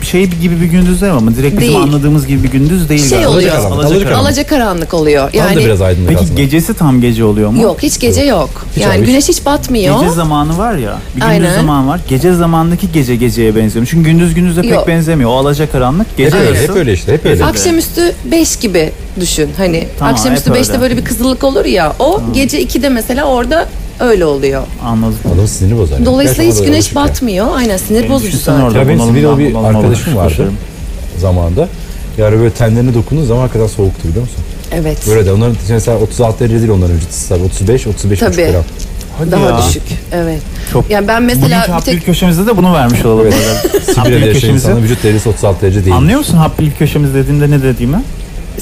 bir şey gibi bir gündüz değil ama direkt bizim
Değil.
anladığımız gibi bir gündüz değil.
Şey
galiba.
oluyor.
Alacakaranlık,
Alacakaranlık.
alacakaranlık.
Alaca karanlık oluyor.
Bana da
Yani
biraz aydınlık
Peki
aslında.
gecesi tam gece oluyor mu?
yok hiç gece yok.
Hiç
yani
abi, hiç.
güneş hiç batmıyor.
Gece zamanı var ya, bir gündüz
Aynen.
zamanı var. Gece zamandaki gece geceye benziyor. Çünkü gündüz gündüze pek
Yok.
benzemiyor. O alacakaranlık
Hep
gece
öyle,
arası.
hep öyle işte. Hep öyle.
Ak-
Akşamüstü 5 gibi düşün. Hani
Tamam,
akşamüstü
hep
5'te
öyle.
böyle bir kızıllık olur ya. O gece 2'de mesela orada öyle oluyor.
Anladım.
Adamın sinirini bozar. ya.
Dolayısıyla
Gerçekten
hiç
o da
güneş
alışık ya.
batmıyor. Aynen sinir bozucu
Düşünsene
zaten.
orada
Ya benim
bunalım,
Sibiryalı bir
bunalım, bunalım,
arkadaşım vardı.
koşarım.
Zamanında. Yani böyle tenlerine dokunduğun zaman hakikaten soğuktu biliyor musun?
Evet.
Böyle de onların mesela 36 lira değil onların vücut ısısı abi. 35, 35 buçuk
Tabii.
gram.
Hadi
Daha
ya.
düşük. Evet.
Çok-
Yani ben
Bugünkü
mesela bir
hap
tek
bilgi köşemizde de bunu vermiş olalım.
Sibirya
Haplı
yaşayan
köşemizi.
şey insanın vücut derisi 36 derece değil.
Anlıyor musun hap bilgi köşemiz dediğimde ne dediğimi?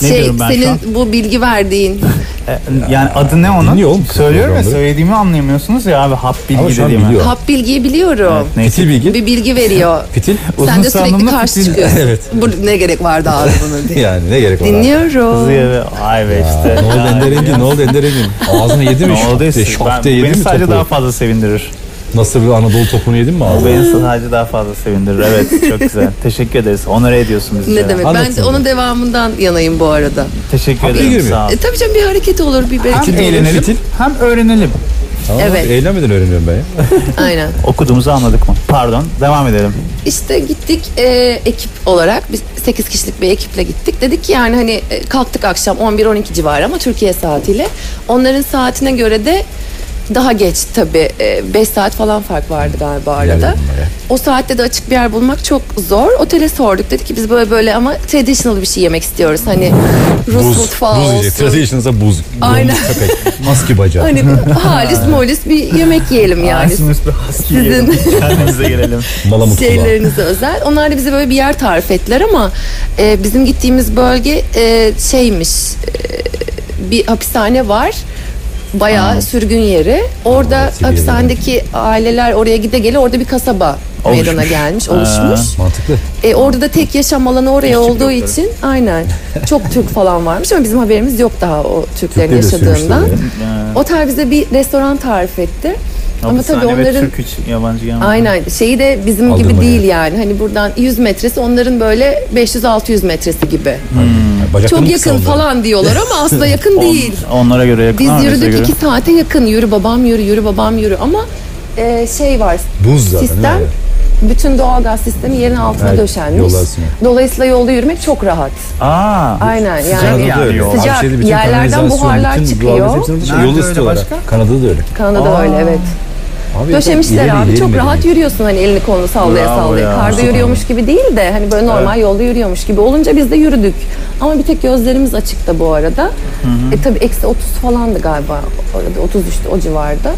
Ne
şey
diyorum ben şu an?
senin bu bilgi verdiğin
E, Yani adı ne onun?
Dinliyor oğlum kız
Söylüyorum ya
programları.
söylediğimi anlayamıyorsunuz ya abi hap
Ama
bilgi
şu an
dediğimi.
biliyor.
hap bilgiyi biliyorum.
Evet, neyse.
Fitil bilgi.
Bir bilgi veriyor.
Fitil.
Uzun
Sen de sürekli
sarınımlı
karşı
fitil.
çıkıyorsun.
Evet.
Bu ne gerek vardı abi bunun diye.
Yani ne gerek var? abi?
Kızı
Dinliyorum.
yere- Ay be işte.
Ne oldu
Ya,
Ender Engin? Ne oldu Ender Engin? Ağzına yedi
Ne
mi?
oldu?
Şok de,
Ben-
şok de yedi
Beni
mi
sadece
topu?
daha fazla sevindirir.
Nasıl bir Anadolu topunu yedin mi
O
ağzına?
beni sadece daha fazla sevindirir. Evet çok güzel. Teşekkür ederiz. Onore ediyorsun bizi.
Ne demek? Ben
Anlatın.
de onun devamından yanayım bu arada.
Teşekkür
Hap
ederim.
bilgi mi?
Sağ ol.
E, tabii canım bir hareket olur,
E,
bir
Hem
bereket olur.
eğlenelim
Fitil.
hem öğrenelim.
Tamam,
Evet.
bak, Eğlenmeden öğreniyorum ben ya.
Aynen.
Okuduğumuzu anladık mı? Pardon. Devam edelim.
İşte gittik e, ekip olarak biz 8 kişilik bir ekiple gittik. Dedik ki yani hani e, kalktık akşam 11-12 civarı ama Türkiye saatiyle. Onların saatine göre de daha geç tabii 5 saat falan fark vardı galiba arada.
Yerledim ben ya.
O saatte de açık bir yer bulmak çok zor. Otele sorduk dedi ki biz böyle böyle ama traditional bir şey yemek istiyoruz. Hani Rus mutfağı
buz yiyecek.
olsun.
Traditional'sa buz.
Aynen.
Aynen. Köpek. Maske bacağı.
Hani bir halis molis bir yemek yiyelim yani.
Aysin üstü husky
sizin-
yiyelim. Kendimize gelelim.
Malamut kulağı.
Şeylerinize özel. Onlar da bize böyle bir yer tarif ettiler ama e, bizim gittiğimiz bölge e, şeymiş e, bir hapishane var. Bayağı sürgün yeri. Orada
Aa, Sibirya'da.
hapishanedeki aileler oraya gide gele orada bir kasaba
Oluşmuş.
meydana gelmiş, oluşmuş.
Mantıklı.
Hmm.
E, orada da tek yaşam alanı oraya
Eski
olduğu
blokları.
için aynen çok Türk falan varmış ama bizim haberimiz yok daha o Türklerin
Türkleri de
yaşadığından.
sürmüşler
Ee,
Otel bize bir restoran tarif etti. Ama
hapishane
tabii
ve
onların
Türk hiç yabancı gelmedi.
Aynen şeyi de bizim
Aldırma
gibi değil
yani.
yani. Hani buradan 100 metresi onların böyle 500-600 metresi gibi.
Yani bacaklarını
Çok
kısa
yakın
oldu.
falan diyorlar ama aslında yakın
On-
değil.
onlara göre yakın
Biz
ama bize göre-
yürüdük 2 saate yakın. Yürü babam yürü, yürü babam yürü ama e, şey var.
Buz zaten.
sistem
değil mi?
bütün doğalgaz sistemi yerin altına
Evet,
döşenmiş.
yol arasına.
Dolayısıyla yolda yürümek çok rahat.
Aa.
Aynen
Kanada'da
yani
yani
da öyle.
yol.
Sıcak,
Avşe'de bütün
yerlerden
kanalizasyon,
buharlar
bütün doğal
çıkıyor.
gazı hepsini-
Nerede
Yolu
öyle
ısıtıyorlar.
başka?
Kanada'da da öyle.
Kanada'da
Aa.
öyle evet.
Abi
Döşemişler
ileri,
abi
ileri
çok
mi
rahat
gidiyor?
yürüyorsun hani elini kolunu sallaya
Bravo
sallaya.
ya,
Karda
süper.
yürüyormuş gibi değil de hani böyle normal yolda yürüyormuş gibi olunca biz de yürüdük. Ama bir tek gözlerimiz açıkta bu arada. E tabi eksi 30 falandı galiba. Orada 30 işte o civarda.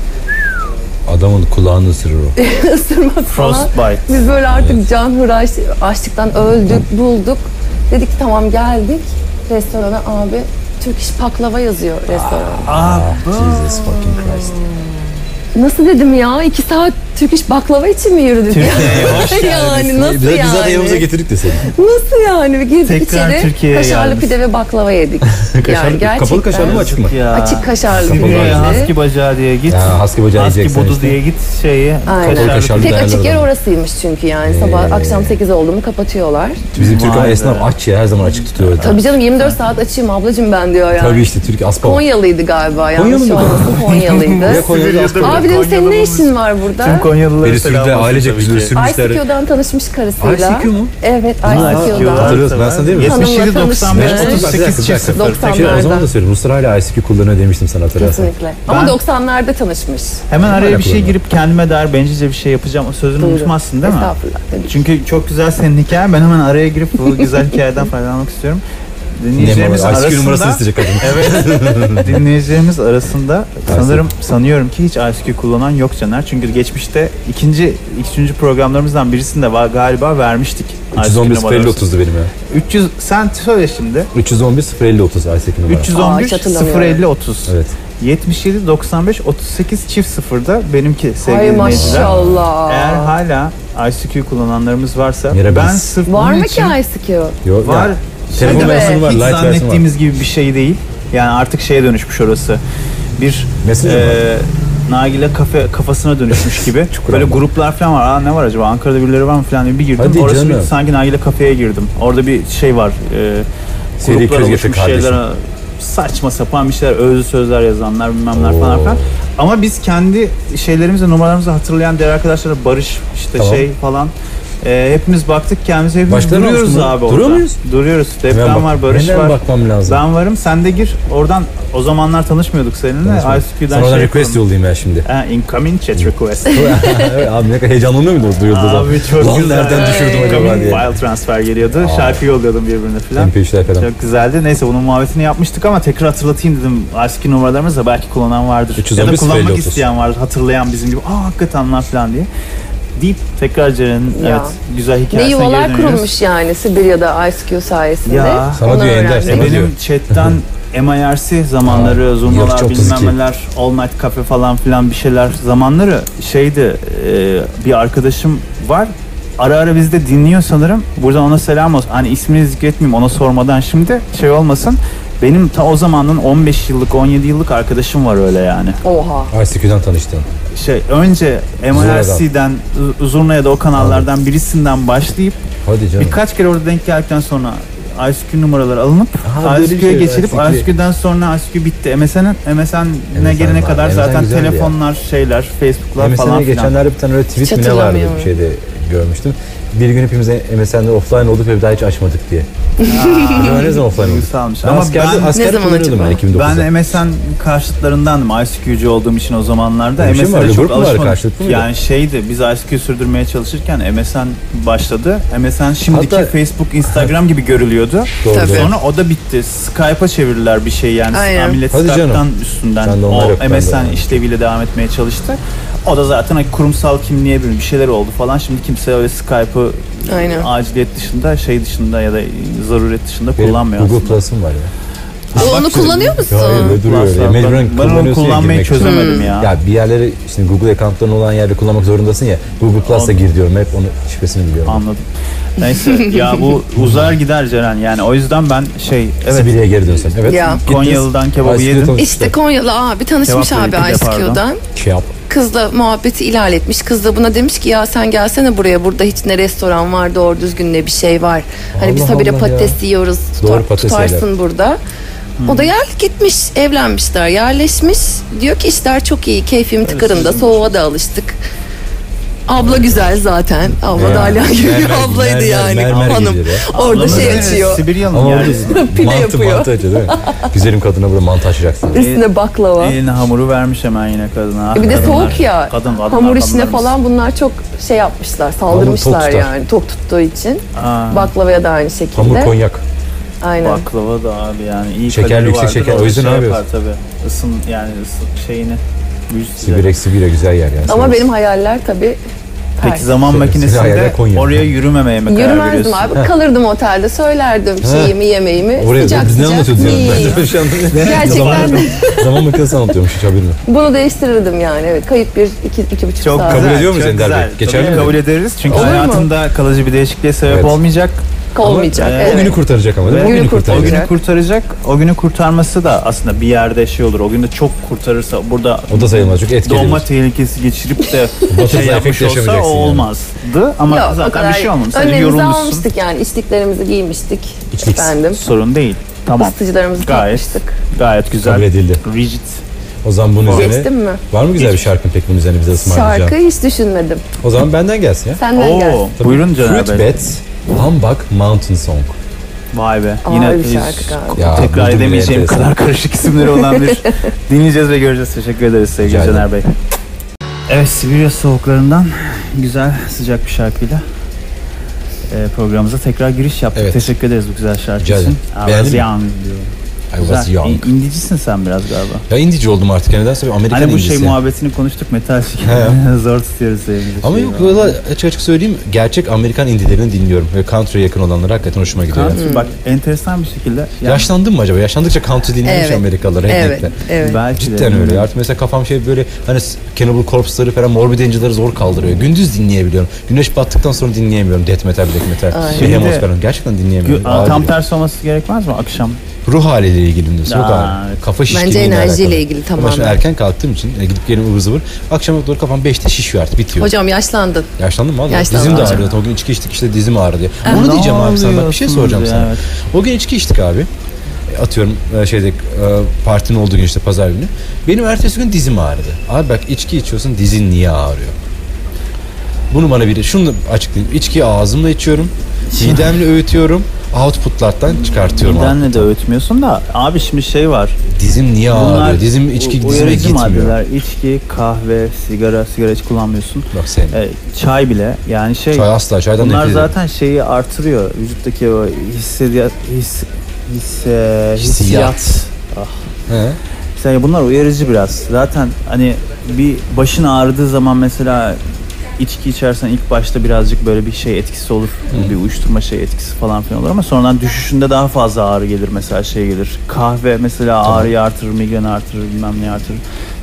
Adamın kulağını ısırır o.
Isırmaz falan.
Frostbite.
Biz böyle artık canhıraş açlıktan öldük bulduk. Dedik ki tamam geldik restorana abi Türk iş baklava yazıyor restoranda.
Aa.
Ah, Jesus fucking Christ.
Nasıl dedim ya iki saat Türk iş baklava için mi yürüdük? yani nasıl
biz,
yani?
Biz zaten yanımıza getirdik de seni.
Nasıl yani? Bir girdik
Tekrar
içeri
Türkiye'ye
kaşarlı
geldiniz.
pide ve baklava yedik.
Kaşarlı- kapalı kaşarlı mı açık mı?
Ya.
Açık kaşarlı
Kapalı
pideydi.
Ya, husky bacağı diye git.
Ya husky bacağı
Husky
yiyeceksin
budu
işte.
diye git şeyi.
Aynen.
kaşarlı
kaşarlı
pide.
Tek
Değerli
açık yer
adam.
orasıymış çünkü yani
Ee.
sabah akşam 8 oldu mu kapatıyorlar.
Bizim Türk
Vay
ama
be.
esnaf aç ya her zaman açık tutuyor. öyle.
Tabii canım 24 saat açayım ablacığım ben diyor yani.
Tabii işte Türk aspa. var.
Konyalıydı galiba yanlış
mıydı?
olmasın Konyalıydı.
Ya Konya'da aspa. var.
Abi dedim senin ne
Konyalı
işin var
Tüm
burada?
Konyalıları
Beni sürdü ailecek
tabii
bizi
ki.
sürmüşler.
ICQ'dan tanışmış karısıyla.
ICQ mu?
Evet
ICQ'dan.
ICQ'dan.
Hatırlıyorsun ben sana değil mi?
Hanımla
77 95
tanışmış.
38 çift
Bir dakika,
sıfır.
bir dakika. Şey, O zaman
90'larda.
da söyleyeyim. Ruslar hala ICQ kullanıyor demiştim sana hatırlarsan.
Kesinlikle. Ama
Ben-
90'larda tanışmış.
Hemen araya bir şey
Kullanıyorum.
girip kendime dair bencece bir şey yapacağım. O sözünü
Buyurun.
unutmazsın değil mi?
Estağfurullah. tabii.
Çünkü çok güzel senin hikayen. Ben hemen araya girip bu güzel hikayeden faydalanmak istiyorum. Dinleyicilerimiz
Ne, ICQ numarasını
arasında
isteyecek kadın.
Evet. Dinleyicilerimiz arasında sanırım sanıyorum ki hiç ICQ kullanan yok Caner. Çünkü geçmişte ikinci ikinci programlarımızdan birisinde va- galiba vermiştik. ICQ
311 050
numarası.
30'du benim ya.
300 sen söyle şimdi.
311 050 30 ICQ numarası.
311
Aa, hiç hatırlamıyorum.
050 30.
Evet.
77 95 38 çift sıfırda benimki
Ay
sevgili dinleyiciler.
maşallah.
Eğer hala ICQ kullananlarımız varsa
Merhaba.
ben sırf
Var
bunun
mı ki
için
ICQ?
Yo,
Var.
ya, telefon
Hadi be.
versiyonu var,
Hiç
light versiyonu var.
zannettiğimiz gibi bir şey değil. Yani artık şeye dönüşmüş orası. Bir
Mesaj mı?
eee, Nagile kafe kafasına dönüşmüş gibi. Böyle
ama.
gruplar falan var. Aa ne var acaba? Ankara'da birileri var mı falan diye bir girdim.
Hadi
Orası
canım.
bir- sanki Nagile kafeye girdim. Orada bir şey var. Eee
Seri
gruplar
köz
oluşmuş
getir kardeşim.
şeyler saçma sapan bir şeyler, özlü sözler yazanlar bilmemler falan
Oo.
filan. Ama biz kendi şeylerimizi, numaralarımızı hatırlayan diğer arkadaşlara Barış, işte
Tamam.
şey falan E, hepimiz baktık kendimize hepimiz
Başkaları
duruyoruz
olsun mu?
abi
Duruyor
orada.
muyuz?
Duruyoruz. Deprem
Hemen
var,
bak-
barış
hemen
var.
bakmam lazım.
Ben varım sen de gir. Oradan o zamanlar tanışmıyorduk seninle.
Sana
ICQ'den
oradan
şey
request
yapalım.
yollayayım ben şimdi.
Ha, incoming chat request.
Evet, Abi ne kadar heyecanlanıyor muydunuz duyulduğu zaman?
Abi çok
Lan
güzel.
nereden düşürdüm acaba
Incoming
diye.
file transfer geliyordu.
Aa.
Şarkı yolluyordum birbirine falan.
MP3'ler falan.
Çok güzeldi. Neyse bunun muhabbetini yapmıştık ama tekrar hatırlatayım dedim. Eski numaralarımız da belki kullanan vardır.
311
ya da kullanmak
050
isteyen vardır. Hatırlayan bizim gibi. Aa hakikaten lan falan diye. Deyip tekrar Ceren'in
Ya.
evet, güzel
Ne
hikayesine geri
yuvalar
dönüyoruz.
kurulmuş yani Sibirya'da IceQ sayesinde.
Ya.
Sana
Onu
diyor Ender,
öğrendik.
sana
E
diyor.
benim chatten MIRC zamanları,
Aa,
zoomalar,
yok, 32.
bilmem neler, all night cafe falan filan bir şeyler zamanları şeydi e, bir arkadaşım var. Ara ara bizi de dinliyor sanırım. Buradan ona selam olsun. Hani ismini zikretmeyeyim ona sormadan şimdi şey olmasın. Benim ta o zamanın 15 yıllık 17 yıllık arkadaşım var öyle yani.
Oha.
ICQ'dan tanıştın.
Şey önce MIRC'den, Zurna'ya da o kanallardan birisinden başlayıp
Hadi canım.
Birkaç kere orada denk geldikten sonra ICQ numaraları alınıp
Ha, böyle bir
ICQ'ya
şey,
geçilip
ICQ.
ICQ'den sonra ICQ bitti. MSN'e MSN'e gelene
var.
kadar
MSN
zaten
güzeldi ya.
telefonlar, şeyler, Facebook'lar falan
MSN'e
filan.
geçenlerde bir tane öyle tweet
Hiç
mi ne vardı
hatırlamıyorum.
bir şeyde görmüştüm. Bir gün hepimiz MSN'de offline olduk ve bir daha hiç açmadık diye. Acaba ne zaman offline olduk?
Duygusalmış.
Ben
Ama
askerde,
ben,
askerde
Ne zaman
kullanıyordum
acaba?
ben 2009'da.
ben MSN karşıtlarındandım. ICQ'cu olduğum için o zamanlarda.
Öyle bir şey mi
MSN'e
vardı?
çok
Grup mu vardı?
alışmadık.
Karşılıklı mıydı?
Yani şeydi biz ICQ sürdürmeye çalışırken MSN başladı. MSN şimdiki
Hatta-
Facebook, Instagram gibi görülüyordu.
Doğru,
Tabii.
doğru.
Sonra o da bitti. Skype'a çevirdiler bir şey yani.
Aynen.
Millet
Hadi
Skype'tan
canım.
üstünden
Ben de onlar
o
yok, ben de
MSN
onlar.
işleviyle devam etmeye çalıştı. O da zaten hani kurumsal kimliğe bir bir şeyler oldu falan. Şimdi kimse öyle Skype'ı
Aynen.
aciliyet dışında, şey dışında ya da zaruret dışında
Benim
kullanmıyor
Google
aslında.
Plus'ım var ya.
E,
Bak
onu
şimdi,
kullanıyor musun?
Ya hayır böyle duruyor öyle. şey
Plus'la
Mecburen
ben onu
kullanıyorsun ya
kullanmayı
girmek için.
çözemedim ya.
Ya bir yerlere şimdi Google account'ların olan yerde kullanmak zorundasın ya. Google Plus'ta
Anladım.
gir diyorum hep onu şifresini biliyorum.
Anladım. Neyse ya bu uzar gider Ceren yani o yüzden ben şey evet
Sibirya'ya geri dönsen. Evet.
Ya.
Gittiniz.
Konyalı'dan kebabı
Bicycle
yedim.
tanıştı.
İşte Konyalı abi tanışmış
Cevap
abi
verirken
IceQ'dan.
yapardım.
Kebap.
Kızla muhabbeti ilerletmiş. Kız da buna demiş ki ya sen gelsene buraya. Burada hiç ne restoran var doğru düzgün ne bir şey var. Hani biz
Allah
habire
Allah
patates
ya.
yiyoruz. Tutar,
Doğru, patates Hmm.
tutarsın burada. O da yer gitmiş, evlenmişler, yerleşmiş. Diyor ki işler çok iyi, keyfim tıkırında, soğuğa da alıştık. Abla güzel zaten. Abla
Ya,
da hala gibi
mermer gibi,
ablaydı
mermer-
yani
mermer
hanım.
gibidir
Orada
Ablamız
şey
evet,
açıyor.
Sibiryalı mı
Ama orada
yani?
Pide
mantı
yapıyor.
mantı açıyor değil mi? Güzelim kadına burada mantı açacaksın.
Üstüne baklava.
Ee,
Eline hamuru vermiş hemen yine kadına. Ah,
E bir de
kadınlar.
soğuk ya.
Kadın, kadın,
Hamur işine
kadınlarımız.
falan bunlar çok şey yapmışlar,
Hamur
saldırmışlar
tok tutar.
yani. Tok tuttuğu için.
Aa.
Baklavaya da aynı şekilde.
Hamur konyak.
Aynen.
Baklava da abi yani iyi
Şeker,
kalori
yüksek
vardır,
şeker.
da
O yüzden
şey
ne
yapar
yapıyorsun?
Tabii. Isın yani ısın şeyini. yüz size.
Sibirya Sibirya güzel yer yani.
Ama
Sibirya-
benim hayaller tabii
Peki
Pers.
zaman
Sibirya
makinesinde
hayaller Konya.
oraya yürümemeye mi karar veriyorsun?
Yürümezdim abi. Kalırdım otelde söylerdim şeyimi yemeğimi.
Oraya
sıcak
biz ne
sıcak
anlatıyorduk yani?
yiyin.
Ben de şu an-
Gerçekten.
Zaman, zaman makinesi anlatıyormuş hiç haberim yok.
Bunu değiştirirdim yani. Evet, kayıp bir iki, iki buçuk
Çok
saat.
güzel,
Kabul ediyor
çok
muyuz Ender Bey?
güzel.
Geçerli
Tabii
mi?
Kabul ederiz çünkü
Olur mu?
hayatında kalıcı bir değişikliğe sebep
Evet.
olmayacak.
Olmayacak.
Ama, e,
evet.
O günü kurtaracak ama değil mi? O
Günü
günü
O
kurtaracak.
günü kurtaracak. O günü kurtarması da aslında bir yerde şey olur. O günü çok kurtarırsa burada
O da sayılmaz çünkü etkileniyor.
donma tehlikesi geçirip de şey
Batırsa
yapmış
efekt
olsa o
yaşamayacaksın yani.
olmazdı. Ama
Yok, o
zaten
kadar
bir şey olmamış. Sen
Önlemimizi
yorulmuşsun.
almıştık yani. İçliklerimizi giymiştik.
İçlik.
Efendim.
Sorun değil. Tamam.
Isıtıcılarımızı
Gayet.
takmıştık.
Gayet güzel.
Kabul edildi.
Rigid.
O zaman bunun
Geçtim
üzerine...
mi?
Var mı güzel bir şarkın pek bunun üzerine bize ısmarlayacağın?
Şarkı hiç düşünmedim.
O zaman benden gelsin ya.
Senden gelsin.
Oo, buyurun Caner
Fruit
Bey.
Bets, Humbug Mountain Song.
Vay be.
Aa,
Yine
öyle bir
biz
şarkı galiba.
Ya, buldum
tekrar
yine
edemeyeceğim
enteresan.
kadar karışık isimleri olan bir dinleyeceğiz ve göreceğiz. Teşekkür ederiz sevgili
Rica ederim.
Caner Bey. Evet Sibirya soğuklarından güzel sıcak bir şarkıyla e, programımıza tekrar giriş yaptık.
Evet.
Teşekkür ederiz bu güzel şarkı
Rica
için.
ederim. Beğendin mi?
young diyor.
I was
Güzel.
young.
İn- İndicisin sen biraz galiba.
Ya indici oldum artık. Yani nedense bir Amerikan
hani bu şey
indisi.
muhabbetini konuştuk metal şey.
He.
zor tutuyoruz evimizi.
Ama
Şey
yok
var.
valla açık açık söyleyeyim gerçek Amerikan indilerini dinliyorum. Ve country'e yakın olanları hakikaten hoşuma gidiyor. yani.
Country bak enteresan bir şekilde. yani
Yaşlandım mı acaba? Yaşlandıkça country dinliyormuş
Evet.
Amerikalılar.
Evet,
redneckler.
evet.
Belki de.
Cidden öyle. ya. Artık mesela kafam şey böyle hani s- Cannibal Corpse'ları falan Morbid Angel'ları zor kaldırıyor. Gündüz dinleyebiliyorum. Güneş battıktan sonra dinleyemiyorum. Death metal, black metal.
Aynen.
Behemoth
Şimdi-
falan. Gerçekten dinleyemiyorum.
Gü- Aa,
Ağır
tam
geliyor.
tersi olması gerekmez mi akşam?
Ruh haliyle ilgili diyorsun. Yok
Aa,
abi.
evet.
Kafa şişkinliğiyle
enerjiyle
alakalı.
ilgili
Ama
tamamen.
şimdi erken kalktığım için e, gidip gelin ıvır zıvır. Akşama doğru kafam 5'te şişiyor artık bitiyor.
Hocam yaşlandın.
Yaşlandım mı?
Yaşlandım
Dizim de
hocam.
ağrıyor. O gün içki içtik işte dizim ağrıdı.
Evet.
Onu
Ee, Ne
diyeceğim abi sana. Bak bir şey
yapıyorsunuz
soracağım
ya?
sana.
Evet.
O gün içki içtik abi. E, Atıyorum e, şeyde e, partinin olduğu gün işte pazar günü. Benim ertesi gün dizim ağrıdı. Abi bak içki içiyorsun dizin niye ağrıyor? Bunu bana biri şunu da açıklayayım. İçkiyi ağzımla içiyorum. Midemle öğütüyorum. Outputlardan çıkartıyorum. abi.
Nedenle de öğütmüyorsun da abi şimdi şey var.
Dizim niye ağrıyor? Dizim içki
u-
dizime
uyarıcı
gitmiyor.
maddeler, içki, kahve, sigara, sigara hiç kullanmıyorsun.
Bak sen.
E, çay bile yani şey
Çay asla çaydan
bunlar
nefret ederim.
zaten şeyi artırıyor. Vücuttaki o hissiyat his, hisse,
Hissiyat. He.
Yani bunlar uyarıcı biraz. Zaten hani bir başın ağrıdığı zaman mesela içki içersen ilk başta birazcık böyle bir şey etkisi olur. Bir uyuşturma şey etkisi falan filan olur ama sonradan düşüşünde daha fazla ağrı gelir mesela şey gelir. Kahve mesela ağrıyı artırır, migreni artırır, bilmem ne artırır.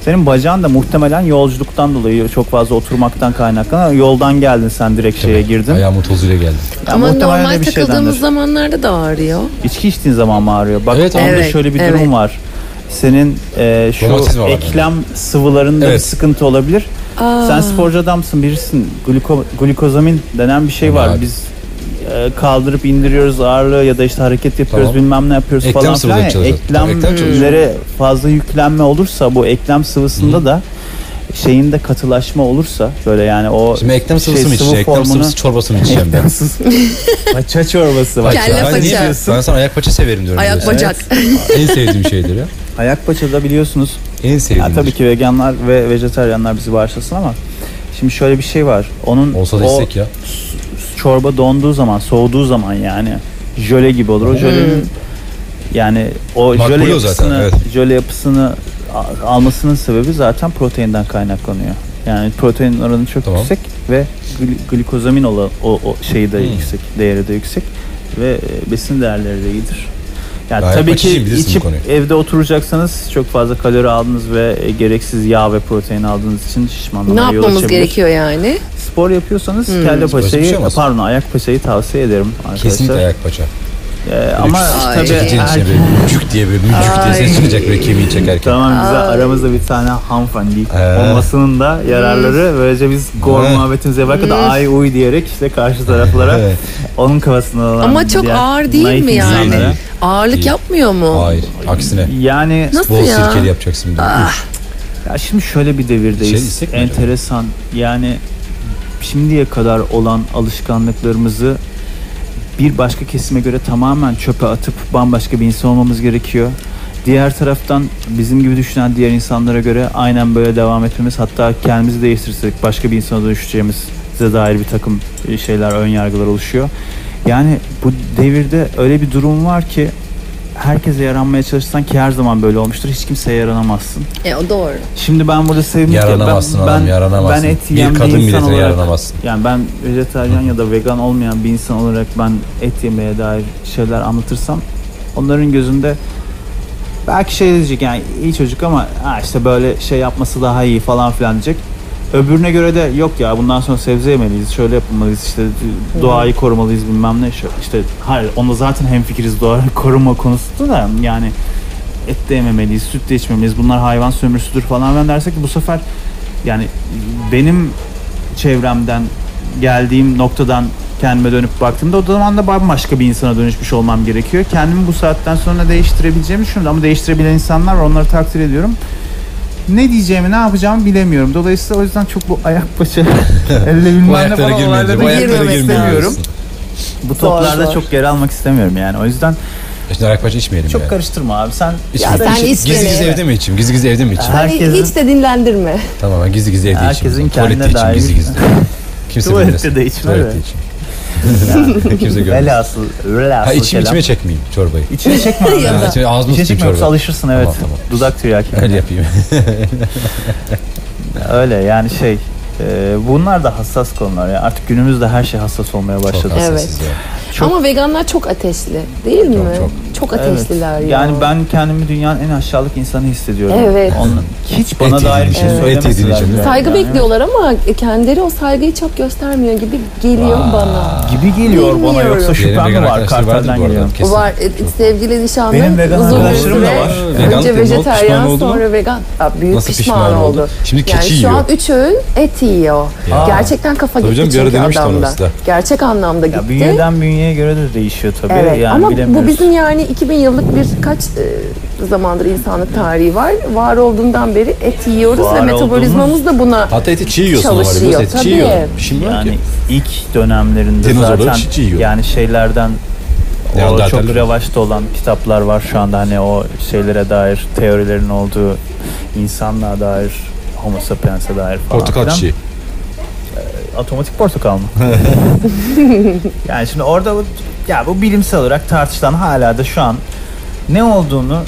Senin bacağın da muhtemelen yolculuktan dolayı çok fazla oturmaktan kaynaklanır. Yoldan geldin sen direkt şeye
Tabii.
girdin.
Ayağımın tozuyla geldim.
Ya
Ama
muhtemelen
normal
de bir şeydendir.
takıldığımız zamanlarda da ağrıyor.
İçki içtiğin zaman mı ağrıyor? Bak
Evet,
onda
evet,
şöyle bir
evet.
durum var. Senin e,
Romatizma
şu
var
eklem sıvılarında bir
Evet.
sıkıntı olabilir.
Aa.
Sen sporcu adamsın, birisin. Gluko, glukozamin denen bir şey
Tamam
var.
abi.
Biz e, kaldırıp indiriyoruz ağırlığı ya da işte hareket yapıyoruz
Tamam.
bilmem ne yapıyoruz
Eklem
falan
sıvıları
filan. ya.
çalışıyor. Tamam, eklem
Eklemlere fazla yüklenme olursa bu eklem sıvısında da şeyinde katılaşma olursa böyle yani o
Şimdi eklem
şey,
sıvısı mı içeceğim? Eklem
formunu-
sıvısı çorbası mı içeceğim ben?
Paça çorbası var.
Paça.
Kelle
Ben niye-
paça.
Ben sana ayak paça severim diyorum.
Ayak
biliyorsun.
bacak.
En sevdiğim şeydir ya.
Ayak paçada biliyorsunuz
En sevdiğim. şey.
Ya tabii ki veganlar ve vejetaryenler bizi bağışlasın ama şimdi şöyle bir şey var. Onun
Olsa da
o
istek ya.
çorba donduğu zaman, soğuduğu zaman yani jöle gibi olur.
Hmm.
O jölenin yani o
Makbul
jöle
o zaten,
yapısını,
evet.
jöle yapısını a- almasının sebebi zaten proteinden kaynaklanıyor. Yani protein oranı çok
Tamam.
yüksek ve gl- glikozamin olan o, o şeyi de
Hmm.
yüksek, değeri de yüksek ve e, besin değerleri de iyidir. Yani
Gayet
tabii ki
açıcıyım, bilirsin bu
içip
konuyu.
evde oturacaksanız çok fazla kalori aldınız ve e, gereksiz yağ ve protein aldığınız için
Ne
şişmanlamaya yol
yapmamız
açabilir.
gerekiyor yani?
Spor yapıyorsanız
Hmm.
kelle
Başka bir
paçayı,
şey olmaz.
pardon ayak paçayı tavsiye ederim arkadaşlar.
Kesinlikle ayak paça.
Ee, ama
Ay.
tabii şey
Çekeceğin
erkek-
içine böyle cük diye böyle cük diye
Ay.
ses çıkacak böyle kemiği çekerken.
Tamam bize
Ay.
aramızda bir tane hanımefendi
Ee.
olmasının da yararları. Böylece biz gor
Evet.
muhabbetimize bakıp da ay uy diyerek işte karşı taraflara
Evet.
onun kafasına olan
Ama çok
diğer
ağır değil mi
naif
yani?
insanlara-
Değil.
Ağırlık
Değil.
yapmıyor mu?
Hayır. Aksine.
Yani
Nasıl
Bol
ya? Ah.
sirkeli yapacaksın bir de.
ya şimdi şöyle bir
Şey
devirdeyiz.
istek mi acaba?
Enteresan. Yani şimdiye kadar olan alışkanlıklarımızı bir başka kesime göre tamamen çöpe atıp bambaşka bir insan olmamız gerekiyor. Diğer taraftan bizim gibi düşünen diğer insanlara göre aynen böyle devam etmemiz hatta kendimizi değiştirirsek başka bir insana dönüşeceğimize dair bir takım e, şeyler ön yargılar oluşuyor. Yani bu devirde öyle bir durum var ki herkese yaranmaya çalışsan ki her zaman böyle olmuştur hiç kimseye yaranamazsın.
E, o doğru.
Şimdi ben burada sevimli
Yaranamazsın
ben,
adam
ben,
yaranamazsın.
Ben et yiyen
bir
bir,
kadın
insan
milletine
olarak
yaranamazsın.
yani ben vejetaryen ya da vegan olmayan bir insan olarak ben et yemeye dair şeyler anlatırsam onların gözünde belki şey diyecek yani iyi çocuk ama ha işte böyle şey yapması daha iyi falan filan diyecek. Öbürüne göre de yok ya bundan sonra sebze yemeliyiz, şöyle yapmalıyız, işte doğayı korumalıyız bilmem ne. şö- işte hayır onda zaten hemfikiriz doğa koruma konusunda da yani et de yememeliyiz, süt de içmemeliyiz, bunlar hayvan sömürüsüdür falan filan dersek bu sefer yani benim çevremden geldiğim noktadan kendime dönüp baktığımda o zaman da bambaşka bir insana dönüşmüş olmam gerekiyor. Kendimi bu saatten sonra değiştirebileceğimi düşünüyorum ama değiştirebilen insanlar var onları takdir ediyorum. Ne diyeceğimi ne yapacağımı bilemiyorum. Dolayısıyla o yüzden çok bu ayak paça elle
Bu
bilmem ne
ayaklara
falan
girmeyelim.
olaylara
Bu
da
ayaklara
girmemek
girmeyelim.
istemiyorum. Bu toplarda
Doğru.
çok yer almak istemiyorum yani. O yüzden
Şimdi ayak paça içmeyelim
çok
yani.
karıştırma abi. Sen
İçmeyelim.
Ya sen
Gizli
içme.
gizli evde mi içeyim? Gizli gizli evde mi içeyim?
herkesin
Hani Hiç de dinlendirme.
Tamam ben gizli gizli evde içeyim.
Herkesin
Tuvalette
kendine
içeyim,
dair
Gizli
bir-
gizli. Kimse
Tuvalette
bilmesin.
de içme
Tuvalette
de.
içeyim. Kimse görmesin.
velhasıl, velhasıl
Ha içim
kelam.
içime çekmeyeyim çorbayı.
İçine çekme abi.
Ha, içime- Ağzımı
İçine
tutayım
çekme yoksa
çorbayı.
alışırsın evet.
Tamam, tamam.
Dudak tiryaki.
Öyle yapayım.
Öyle yani şey e, bunlar da hassas konular ya. Artık günümüzde her şey hassas olmaya
Çok
başladı.
hassasız ya.
Çok-
Ama veganlar çok ateşli değil
Çok,
mi?
çok.
ateşliler ya.
Yani ben kendimi dünyanın en aşağılık insanı hissediyorum.
Evet.
Onun- hiç bana
Et
dair bir
yediğin
şey
için, et yediğin
söylemeseler
için,
bile.
değil mi?
Saygı
Yani,
bekliyorlar ama kendileri o saygıyı çok göstermiyor gibi geliyor
Vay.
bana.
Gibi geliyor bana
Bilmiyorum.
yoksa
Benim
şüphem mi
vegan
var?
arkadaşlar vardır
Kartal'dan
bu arada.
geliyorum.
Kesin.
Var e, sevgili nişanlım.
Benim vegan
uzun bir
arkadaşlarım da
süre
var.
Veganlık
Önce
ne oldu? Pişman
vejetaryen
oldu mu?
sonra vegan. Aa, büyük
Nasıl
pişman,
pişman oldu?
oldu.
Şimdi
yani
keçi
şu an
yiyor.
üç öğün et yiyor.
Ya.
Gerçekten kafa
Tabii
gitti
canım, bir ara
çünkü
denemişti onu
adamda.
biz de.
Gerçek anlamda
Ya
gitti.
bünyeden bünyeye tekniğe göre de değişiyor tabii.
Evet.
Yani
Ama bu
bilemiyoruz.
bizim yani 2000 yıllık bir kaç e, zamandır insanlık tarihi var. Var olduğundan beri et yiyoruz
Var
ve metabolizmamız da buna
Hatta eti çiğ yiyorsun ama
Çalışıyor,
biraz eti
tabii.
çiğ yiyor. Şimdi yani,
Yani ilk dönemlerinde
Dinozorları
zaten
çiğ- çiğ yiyor.
yani şeylerden o çok
Neandertaller.
revaçta olan kitaplar var şu anda hani o şeylere dair teorilerin olduğu insanlığa dair homo sapiens'e dair falan
portakal
filan.
çiğ.
Otomatik portakal mı? yani şimdi orada bu, ya bu bilimsel olarak tartışılan hala da şu an ne olduğunu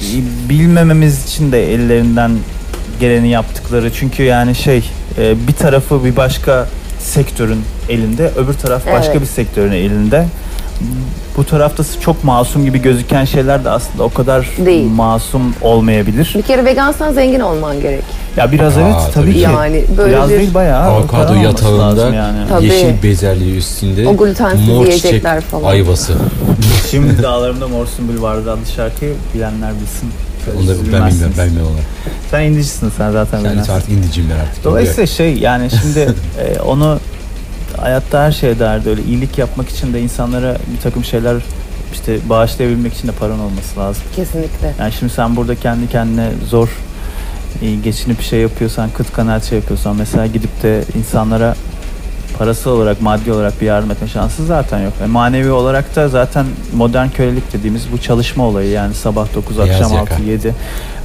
e, bilmememiz için de ellerinden geleni yaptıkları. Çünkü yani şey e, bir tarafı bir başka sektörün elinde, öbür taraf başka
Evet.
bir sektörün elinde. Bu tarafta çok masum gibi gözüken şeyler de aslında o kadar
Değil.
masum olmayabilir.
bir kere vegansan zengin olman gerek.
Ya biraz
Aa,
evet tabii,
tabii ki.
ki.
Yani böyle
biraz
bir
değil bayağı. o kadar
Avokado
olması
yatağında
lazım yani.
Tabii.
yeşil bezelye üstünde
O glutensiz
mor çiçek
yiyecekler falan.
ayvası.
Şimdi dağlarımda Mor Sümbül vardı adlı şarkıyı bilenler bilsin.
Onu da
Siz
ben bilmiyorum.
bilmezsiniz.
Ben bilmiyorum. onu.
Sen indicisin sen zaten
Yani
bilmezsin.
artık indiciyim ben artık.
Dolayısıyla şey yani şimdi e, onu hayatta her şeye derdi öyle iyilik yapmak için de insanlara bir takım şeyler işte bağışlayabilmek için de paran olması lazım.
Kesinlikle.
Yani şimdi sen burada kendi kendine zor e, geçinip bir şey yapıyorsan, kıt kanaat şey yapıyorsan mesela gidip de insanlara parası olarak, maddi olarak bir yardım etme şansı zaten yok. E, manevi olarak da zaten modern kölelik dediğimiz bu çalışma olayı yani sabah 9,
Beyaz
akşam
yaka.
6, 7.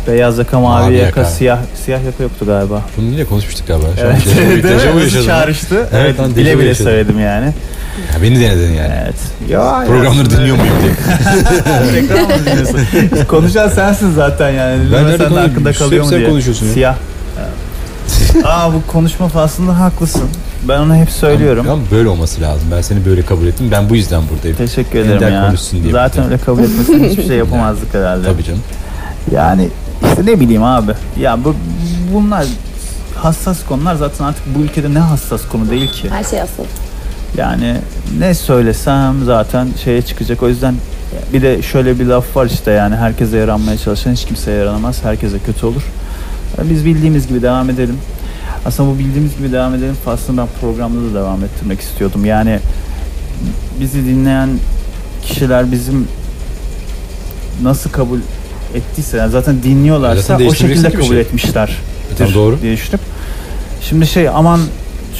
Beyaz yaka, mavi,
Mavi
yaka,
yaka.
siyah siyah yaka yoktu galiba.
Bunu yine konuşmuştuk galiba. Şu an
Evet.
dejavu- dejavu
Değil mi?
yaşadım.
Çağrıştı.
Evet,
Evet,
lan
bile
dejavu
bile
yaşadım.
söyledim yani.
Ya beni denedin yani.
Evet. Ya,
Programları
aslında-
dinliyor muyum diye.
Reklam mı dinliyorsun? Konuşan sensin zaten yani.
Ben
Ben sen de
nerede konuşuyorum?
hakkında kalıyor
Hep
mu
sen
diye.
konuşuyorsun ya.
Siyah. Evet. Aa bu konuşma faslında haklısın. Ben onu hep söylüyorum.
Ama böyle olması lazım. Ben seni böyle kabul ettim. Ben bu yüzden buradayım.
Teşekkür
Ender
ederim ya.
konuşsun diye
Zaten
bir
öyle kabul etmesin hiçbir şey yapamazdık herhalde.
Tabii canım. E,
Yani işte ne bileyim abi. Ya bu bunlar hassas konular zaten artık bu ülkede ne hassas konu değil ki.
Her şey asıl.
Yani ne söylesem zaten şeye çıkacak. O yüzden bir de şöyle bir laf var işte yani herkese yaranmaya çalışan hiç kimseye yaranamaz. Herkese kötü olur. E, Biz bildiğimiz gibi devam edelim. Aslında bu bildiğimiz gibi devam edelim faslını ben programda da devam ettirmek istiyordum. Yani bizi dinleyen kişiler bizim nasıl kabul ettiyse yani zaten dinliyorlarsa
Zaten
o
değiştirmeyeceksin
şekilde
ki bir
kabul
şey.
etmişler
Tamam, doğru.
diye düşünüp şimdi şey aman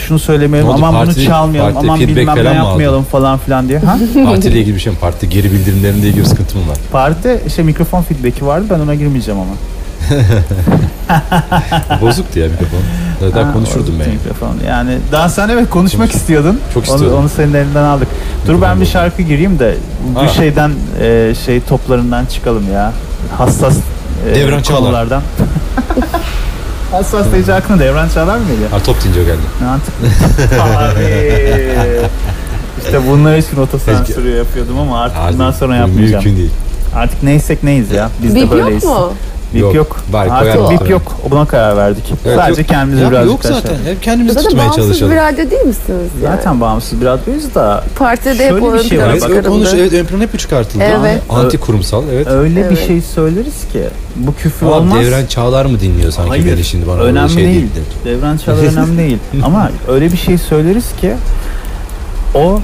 şunu söylemeyelim
Ne oldu?
aman
Parti-
bunu çalmayalım
parti
aman
feedback
bilmem ne
falan mı aldın?
yapmayalım falan filan diye. Ha?
Partiyle ilgili bir şey mi? Parti geri bildirimlerinde ilgili bir sıkıntı mı var?
Partide şey mikrofon feedback'i vardı ben ona girmeyeceğim ama.
Bozuktu ya mikrofon. Daha, daha
Ha,
konuşurdum
orada
ben.
Mikrofon. Yani daha sen evet konuşmak
Konuş-
istiyordun.
Çok
onu,
istiyordum.
onu senin elinden aldık. Dur ben
Mikrofon
bir
buldum.
şarkı gireyim de bu
Ha.
şeyden e, şey toplarından çıkalım ya. Hassas e,
Devran Çağlar.
konulardan. Hassas deyince aklına Devran Çağlar mı geliyor?
Ha, top deyince o geldi.
Mantıklı. Abi. İşte bunlar için otosansürü yapıyordum ama artık
Artık
bundan sonra
bu
yapmayacağım.
Mümkün değil.
Artık neysek neyiz ya. Biz
Bip
de
yok
böyleyiz.
mu?
Bip
Yok.
yok.
Bari
Artık
koyalım.
bip yok. Buna karar verdik.
Evet,
Sadece
yok.
kendimizi
Ya,
birazcık
Yok
daha şey-
zaten. Hep kendimizi
Zaten
tutmaya
bağımsız
çalışalım.
bir radyo değil misiniz? yani?
Zaten bağımsız bir radyoyuz da
Partide de hep
Şöyle
o
bir
ön
şey var.
plana
Evet,
Bak,
ön- konuş,
çıkarıldı.
evet, ön plana hep çıkartıldı.
Evet.
Anti kurumsal, evet.
öyle bir
Evet.
şey söyleriz ki bu küfür
Ama
olmaz.
Devren Çağlar mı dinliyor sanki
Hayır,
beni şimdi bana öyle
önemli
şey
değil.
değil. dedi.
Devran Çalar önemli değil. Ama öyle bir şey söyleriz ki o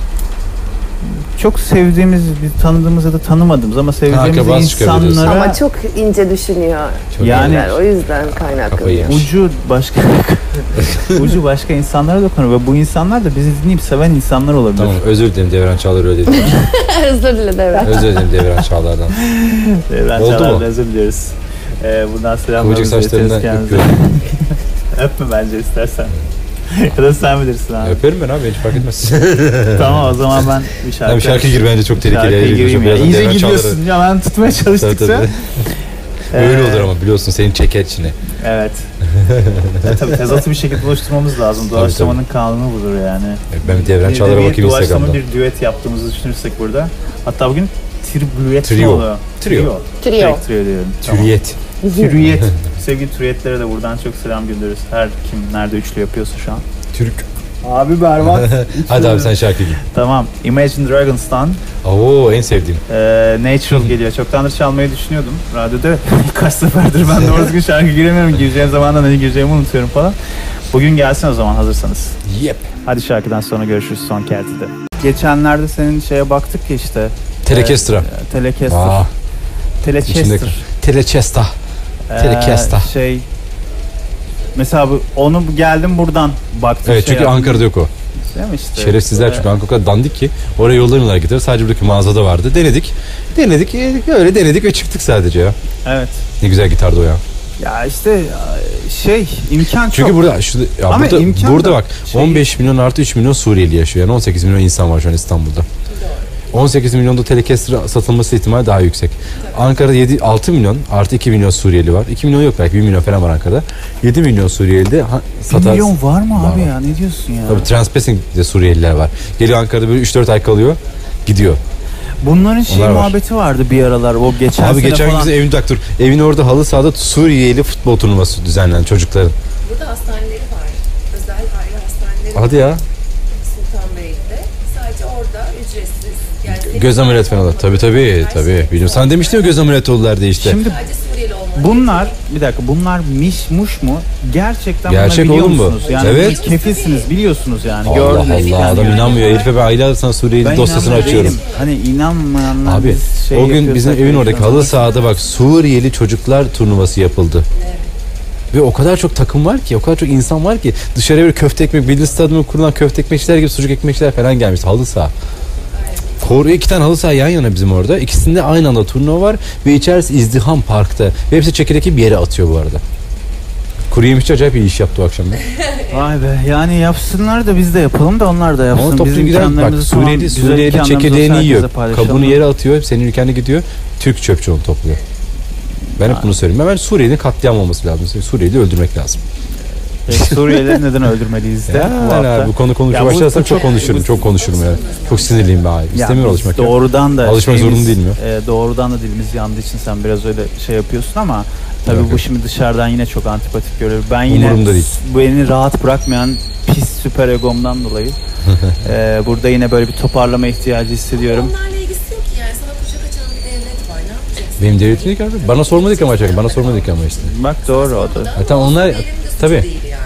çok sevdiğimiz, bir tanıdığımız ya da tanımadığımız ama sevdiğimiz
Akrabası çıkabilir diyorsun.
insanlara
Ama çok ince düşünüyor.
Çok
Yani-
Yani, o yüzden kaynaklı.
Kafayı yemiş.
ucu başka ucu başka insanlara dokunur ve bu insanlar da bizi dinleyip seven insanlar olabilir.
Tamam özür dilerim Devran Çağlar öyle dedi.
Özür dile Devran.
özür dilerim Devran Çağlar'dan.
Devran
Oldu mu?
Çalar'dan özür dileriz. Ee, buradan
Kıvırcık
selamlarımızı iletiriz
saçlarından
kendinize.
öpüyorum.
Öpme bence istersen. ya da sen bilirsin abi.
Öperim ben abi hiç fark etmez.
Tamam o zaman ben bir şarkı,
Abi şarkı gir bence çok tehlikeli.
şarkıya
Şarkı
gireyim ya. İyice gidiyorsun ya ben tutmaya çalıştıkça.
Öyle
Ee,
olur ama biliyorsun senin çeker içine.
Evet. ya, tabii tezatı bir şekilde oluşturmamız lazım. Doğaçlamanın kanunu budur yani.
Ben bir Devran
Bir de
Çağlar'a
bir
bakayım
doğaçlama,
Instagram'da.
bir düet yaptığımızı düşünürsek burada. Hatta bugün tribüet mi
Trio.
oluyor?
Trio.
Trio.
Direkt trio diyorum. Tamam.
Türiyet.
Trüyet. Sevgili trüyetlere de buradan çok selam gönderiyoruz. Her kim nerede üçlü yapıyorsa şu an.
Türk.
Abi berbat.
Hadi abi sen şarkı gir.
Tamam. Imagine Dragons'tan
Oo en sevdiğim.
Ee, Natural geliyor. Çoktandır çalmayı düşünüyordum radyoda. Kaç seferdir ben doğru düzgün şarkı giremiyorum. Gireceğim zamandan ne gireceğimi unutuyorum falan. Bugün gelsin o zaman hazırsanız.
Yep.
Hadi şarkıdan sonra görüşürüz son kertede. geçenlerde senin şeye baktık ya işte
Telekestra.
e, Telecaster.
Aa, içinde-
Telecaster.
Telechesta.
Ee,
Telecaster.
şey mesela bu, onu geldim buradan baktım.
Evet
şey
çünkü
yaptım,
Ankara'da yok o.
değil mi işte?
Şerefsizler
Ee,
çünkü Ankara'da dandik ki oraya yollanıyorlar gidiyor. Sadece buradaki mağazada vardı. Denedik. Denedik. e, Öyle denedik ve çıktık sadece ya.
Evet.
Ne güzel gitardı o ya.
Ya işte e, şey imkan
Çünkü
çok.
burada şu ya
Ama
burada,
imkan
burada
da
bak
şey-
15 milyon artı 3 milyon Suriyeli yaşıyor. Yani 18 milyon insan var şu an İstanbul'da. 18 milyonda Telecaster satılması ihtimali daha yüksek. Ankara'da 7 6 milyon artı 2 milyon Suriyeli var. 2 milyon yok belki 1 milyon falan var Ankara'da. 7 milyon Suriyeli de ha-
Bir
satar.
milyon var mı
Var
abi
var.
ya ne diyorsun ya?
Tabii Transpassing de Suriyeliler var. Geliyor Ankara'da böyle 3-4 ay kalıyor. Gidiyor.
Bunların şey
Onlar var.
muhabbeti vardı bir aralar o geçen
Abi
sene
geçen gün
falan.
bize evin dur. Evin orada halı sahada Suriyeli futbol turnuvası düzenlendi çocukların.
Burada hastaneleri var. Özel aile hastaneleri
Hadi
var
ya.
Sultanbeyli'de. Sadece orada ücretsiz. Yani
Göz ameliyatı falan. Tabii tabii tabii. Biliyorum. Sen demiştin ya göz ameliyatı oldular diye işte.
Şimdi
Sadece Suriyeli olmalı.
bunlar bir dakika bunlar miş muş mu? Gerçekten
Gerçek
bunu biliyor
oğlum bu.
musunuz? Yani
Evet.
kefilsiniz biliyorsunuz yani.
Allah
Gördünüz
Allah
yani.
adam inanmıyor. Herife ben aylardır sana Suriyeli
Ben
dosyasını
inanmıyor
açıyorum.
değilim. Hani inanmayanlar
Abi
biz şey
o gün bizim
yapıyorsak
evin oradaki
konuşuyoruz.
halı sahada bak Suriyeli çocuklar turnuvası yapıldı. Ve o kadar çok takım var ki, o kadar çok insan var ki dışarıya böyle köfte ekmek, bildiğin stadyumun kurulan köfte ekmekçiler gibi sucuk ekmekçiler falan gelmiş halı saha. Koruya iki tane halı saha yan yana bizim orada. İkisinde aynı anda turnuva var ve içerisi izdiham parkta. Ve hepsi çekirdeki bir yere atıyor bu arada. Kuru yemişçi acayip iyi iş yaptı o akşam.
Vay be yani yapsınlar da biz de yapalım da onlar da
Ama
yapsın.
toplu
Bizim
gider bak
imkanlarımızı falan,
Suriyeli,
güzel
Suriyeli
imkanlarımızı
çekirdeğini
olsa
yiyor.
herkese paylaşalım.
Kabuğunu yere atıyor. Senin ülkene gidiyor. Türk çöpçü onu topluyor. Ben hep bunu söylüyorum. Hemen Suriyeli'nin katliam olması lazım. Suriyeli öldürmek lazım.
E, Suriyelileri neden öldürmeliyiz de bu
Yani
hafta.
abi, bu konu konuşmaya
Ya bu-
başlarsam
bu
çok,
çok-
konuşurum.
bu-
çok konuşurum yani. Çok sinirliyim ben. abi.
Ya
İstemiyorum
biz
alışmak. ya.
Doğrudan da
Alışmak
şeyimiz,
zorunda değilim
e, doğrudan da dilimiz yandığı için sen biraz öyle şey yapıyorsun ama tabii
Yok,
bu
yok.
şimdi dışarıdan yine çok antipatik görülür. Ben yine
Umurumda değil.
bu beni rahat bırakmayan pis süper egomdan dolayı e, burada yine böyle bir toparlama ihtiyacı hissediyorum.
Onlarla ilgisi yok ki yani. Sana kucak açan bir devlet var. Ne yapacaksın?
Benim devletim yok abi. Bana sormadık ama açık. Bana sormadık ama işte.
Bak doğru o da.
Ha, tamam onlar
Benim de suçu
tabii.
değil yani.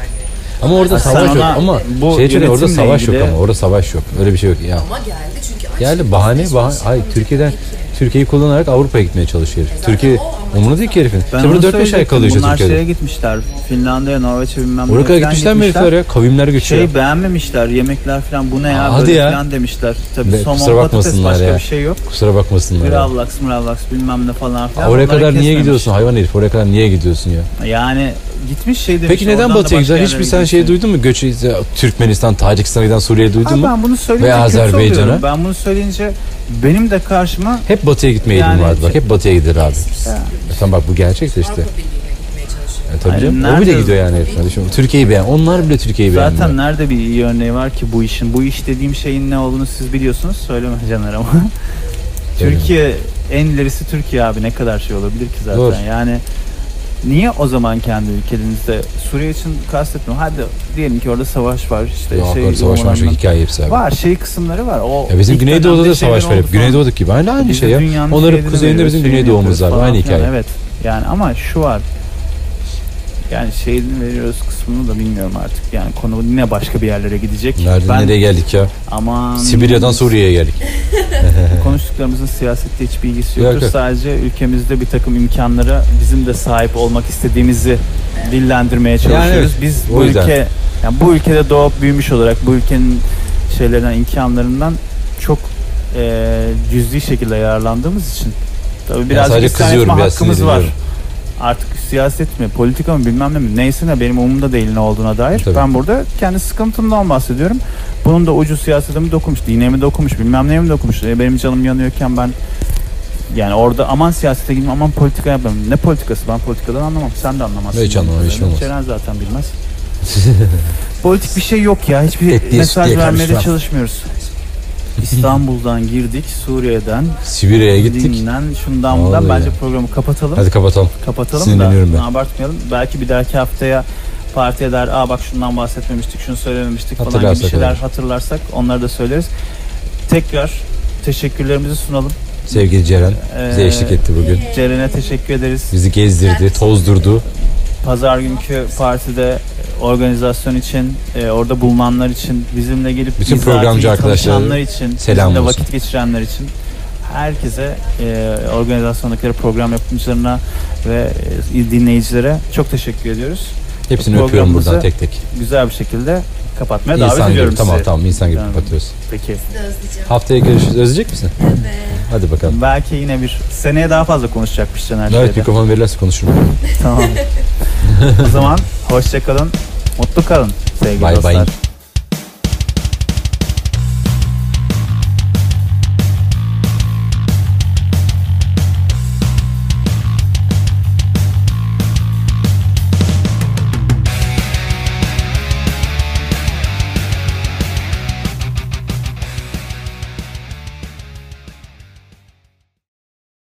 Ama orada
Sen
savaş yok.
ona-
Ama
bu
şey için orada
yönetimle
savaş yok
ilgili-
ama orada savaş yok. Öyle bir şey yok ya.
Ama geldi çünkü aç.
Yani bahane bahane. Hayır Türkiye'den Türkiye'yi kullanarak Avrupa'ya gitmeye çalışıyor herif. Türkiye umurunda değil ki herifin.
Ben
Şimdi
onu
burada 4-5 ay
söyleyecektim.
kalıyor işte
Bunlar şeye
Türkiye'de.
gitmişler. Finlandiya'ya, Norveç'e bilmem
Oraya kadar
nereden
gitmişler mi herifler ya? Kavimler göçüyor.
Şey beğenmemişler yemekler falan bu ne ya
Aa, hadi
böyle
ya.
falan demişler. Tabii
Ne, kusura
somon patates
bakmasınlar
başka
ya.
bir şey yok.
Kusura bakmasınlar. ya.
Gravlax, mravlax bilmem ne falan filan.
Oraya
Onları
kadar niye
kesmemiş.
gidiyorsun hayvan herif? Oraya kadar niye gidiyorsun ya?
Yani gitmiş şey demiş.
Peki neden
oradan da
Batı'ya
başka
gidiyorlar?
yerlere
Hiçbir sen
gitmiş.
şey duydun mu? Göç Türkmenistan, Tacikistan'a giden Suriye'yi duydun
Abi
mu?
ben bunu söyleyince
Ve
kötü
Azerbaycan'a?
oluyorum. Ben bunu söyleyince benim de karşıma
Hep Batı'ya gitme eğilimi
Yani-
vardı bak. Hep Batı'ya gider abi. E Tamam bak bu gerçek de işte.
Avrupa Birliği'ne gitmeye çalışıyor.
E tabii
Ay,
canım. O bile
nerede-
gidiyor yani herifler. Düşün, Türkiye'yi beğen. Onlar bile Türkiye'yi beğenmiyor.
zaten nerede bir iyi örneği var ki bu işin. Bu iş dediğim şeyin ne olduğunu siz biliyorsunuz. Söyleme Caner ama. Türkiye en ilerisi Türkiye abi ne kadar şey olabilir ki zaten.
Doğru.
Yani niye o zaman kendi ülkenizde Suriye için kastetmiyorum. Hadi diyelim ki orada savaş var işte
Yok
şey
öyle savaş var.
uygulanan-
hikaye hepsi abi.
Var şey kısımları var. O
Ya bizim
ilk
Güneydoğu'da
dönemde
da savaş
şeyler
var
oldu
hep.
falan.
Güneydoğu'daki gibi aynı, aynı
Biz de
şey ya.
dünyanın
Onların
şeyini
kuzeyinde
veriyoruz,
bizim
şeyini
Güneydoğu'muz
yapıyoruz
var. Aynı
falan filan.
hikaye.
Evet. Yani ama şu var. Yani şeyini veriyoruz kısmını da bilmiyorum artık. Yani konu yine başka bir yerlere gidecek.
Nereden
ben,
nereye geldik ya?
Aman
Sibirya'dan Suriye'ye geldik.
konuştuklarımızın siyasette hiçbir ilgisi
Ee, Yok,
yoktur.
yok.
Sadece ülkemizde bir takım imkanlara bizim de sahip olmak istediğimizi dillendirmeye çalışıyoruz.
evet,
Biz
o
bu
yüzden.
ülke yani bu ülkede doğup büyümüş olarak bu ülkenin şeylerinden imkanlarından çok e, cüzi şekilde yararlandığımız için tabii biraz
sadece
isyan etme
kızıyorum, biraz
hakkımız var.
sinirleniyorum.
Artık siyaset mi, politika mı bilmem ne mi neyse ne benim umumda değil ne olduğuna dair.
Tabii.
Ben burada kendi sıkıntımdan bahsediyorum. Bunun da ucu siyasete mi dokunmuş, dine mi dokunmuş, bilmem neye mi dokunmuş. E, benim canım yanıyorken ben yani orada aman siyasete girme, aman politika yapmayayım. Ne politikası? Ben politikadan anlamam. Sen de anlamazsın.
Hiç anlamam, hiç anlamaz.
Ceren zaten bilmez. Politik bir şey yok ya. Hiçbir
Et diye, süt
mesaj
diye
vermeye de
karışmam.
çalışmıyoruz. İstanbul'dan girdik, Suriye'den,
Sibirya'ya gittik.
Dinlen, şundan bundan.
Vallahi
Bence
ya.
programı kapatalım.
Hadi kapatalım.
Kapatalım da
Sinirleniyorum ben.
abartmayalım. Belki bir dahaki haftaya partiye der, aa bak şundan bahsetmemiştik, şunu söylememiştik falan gibi
Hatırlarsak
şeyler
olur.
hatırlarsak onları da söyleriz. Tekrar teşekkürlerimizi sunalım.
Sevgili Ceren bize
Ee,
eşlik etti bugün.
Ceren'e teşekkür ederiz.
Bizi gezdirdi, tozdurdu.
Pazar günkü partide e, organizasyon için, e, orada bulunanlar için, bizimle gelip
Bütün
bizi
programcı
artık iyi
arkadaşlara
tanışanlar için,
selam
bizimle
olsun.
vakit geçirenler için herkese e, organizasyondaki program yapımcılarına ve e, dinleyicilere çok teşekkür ediyoruz.
Hepsini öpüyorum
Programımızı
buradan tek tek.
Güzel bir şekilde kapatmaya davet
İnsan
ediyorum
gibi tamam
sizi.
tamam insan gibi
Tamam.
kapatıyoruz.
Peki.
Sizi de özleyeceğim.
Haftaya görüşürüz. Özleyecek misin?
Evet.
Hadi bakalım.
Belki yine bir seneye daha fazla konuşacakmış Caner
Evet
şeyde.
mikrofon verirlerse konuşurum.
Tamam. o zaman hoşça kalın. Mutlu kalın sevgili
Bay bay.
dostlar.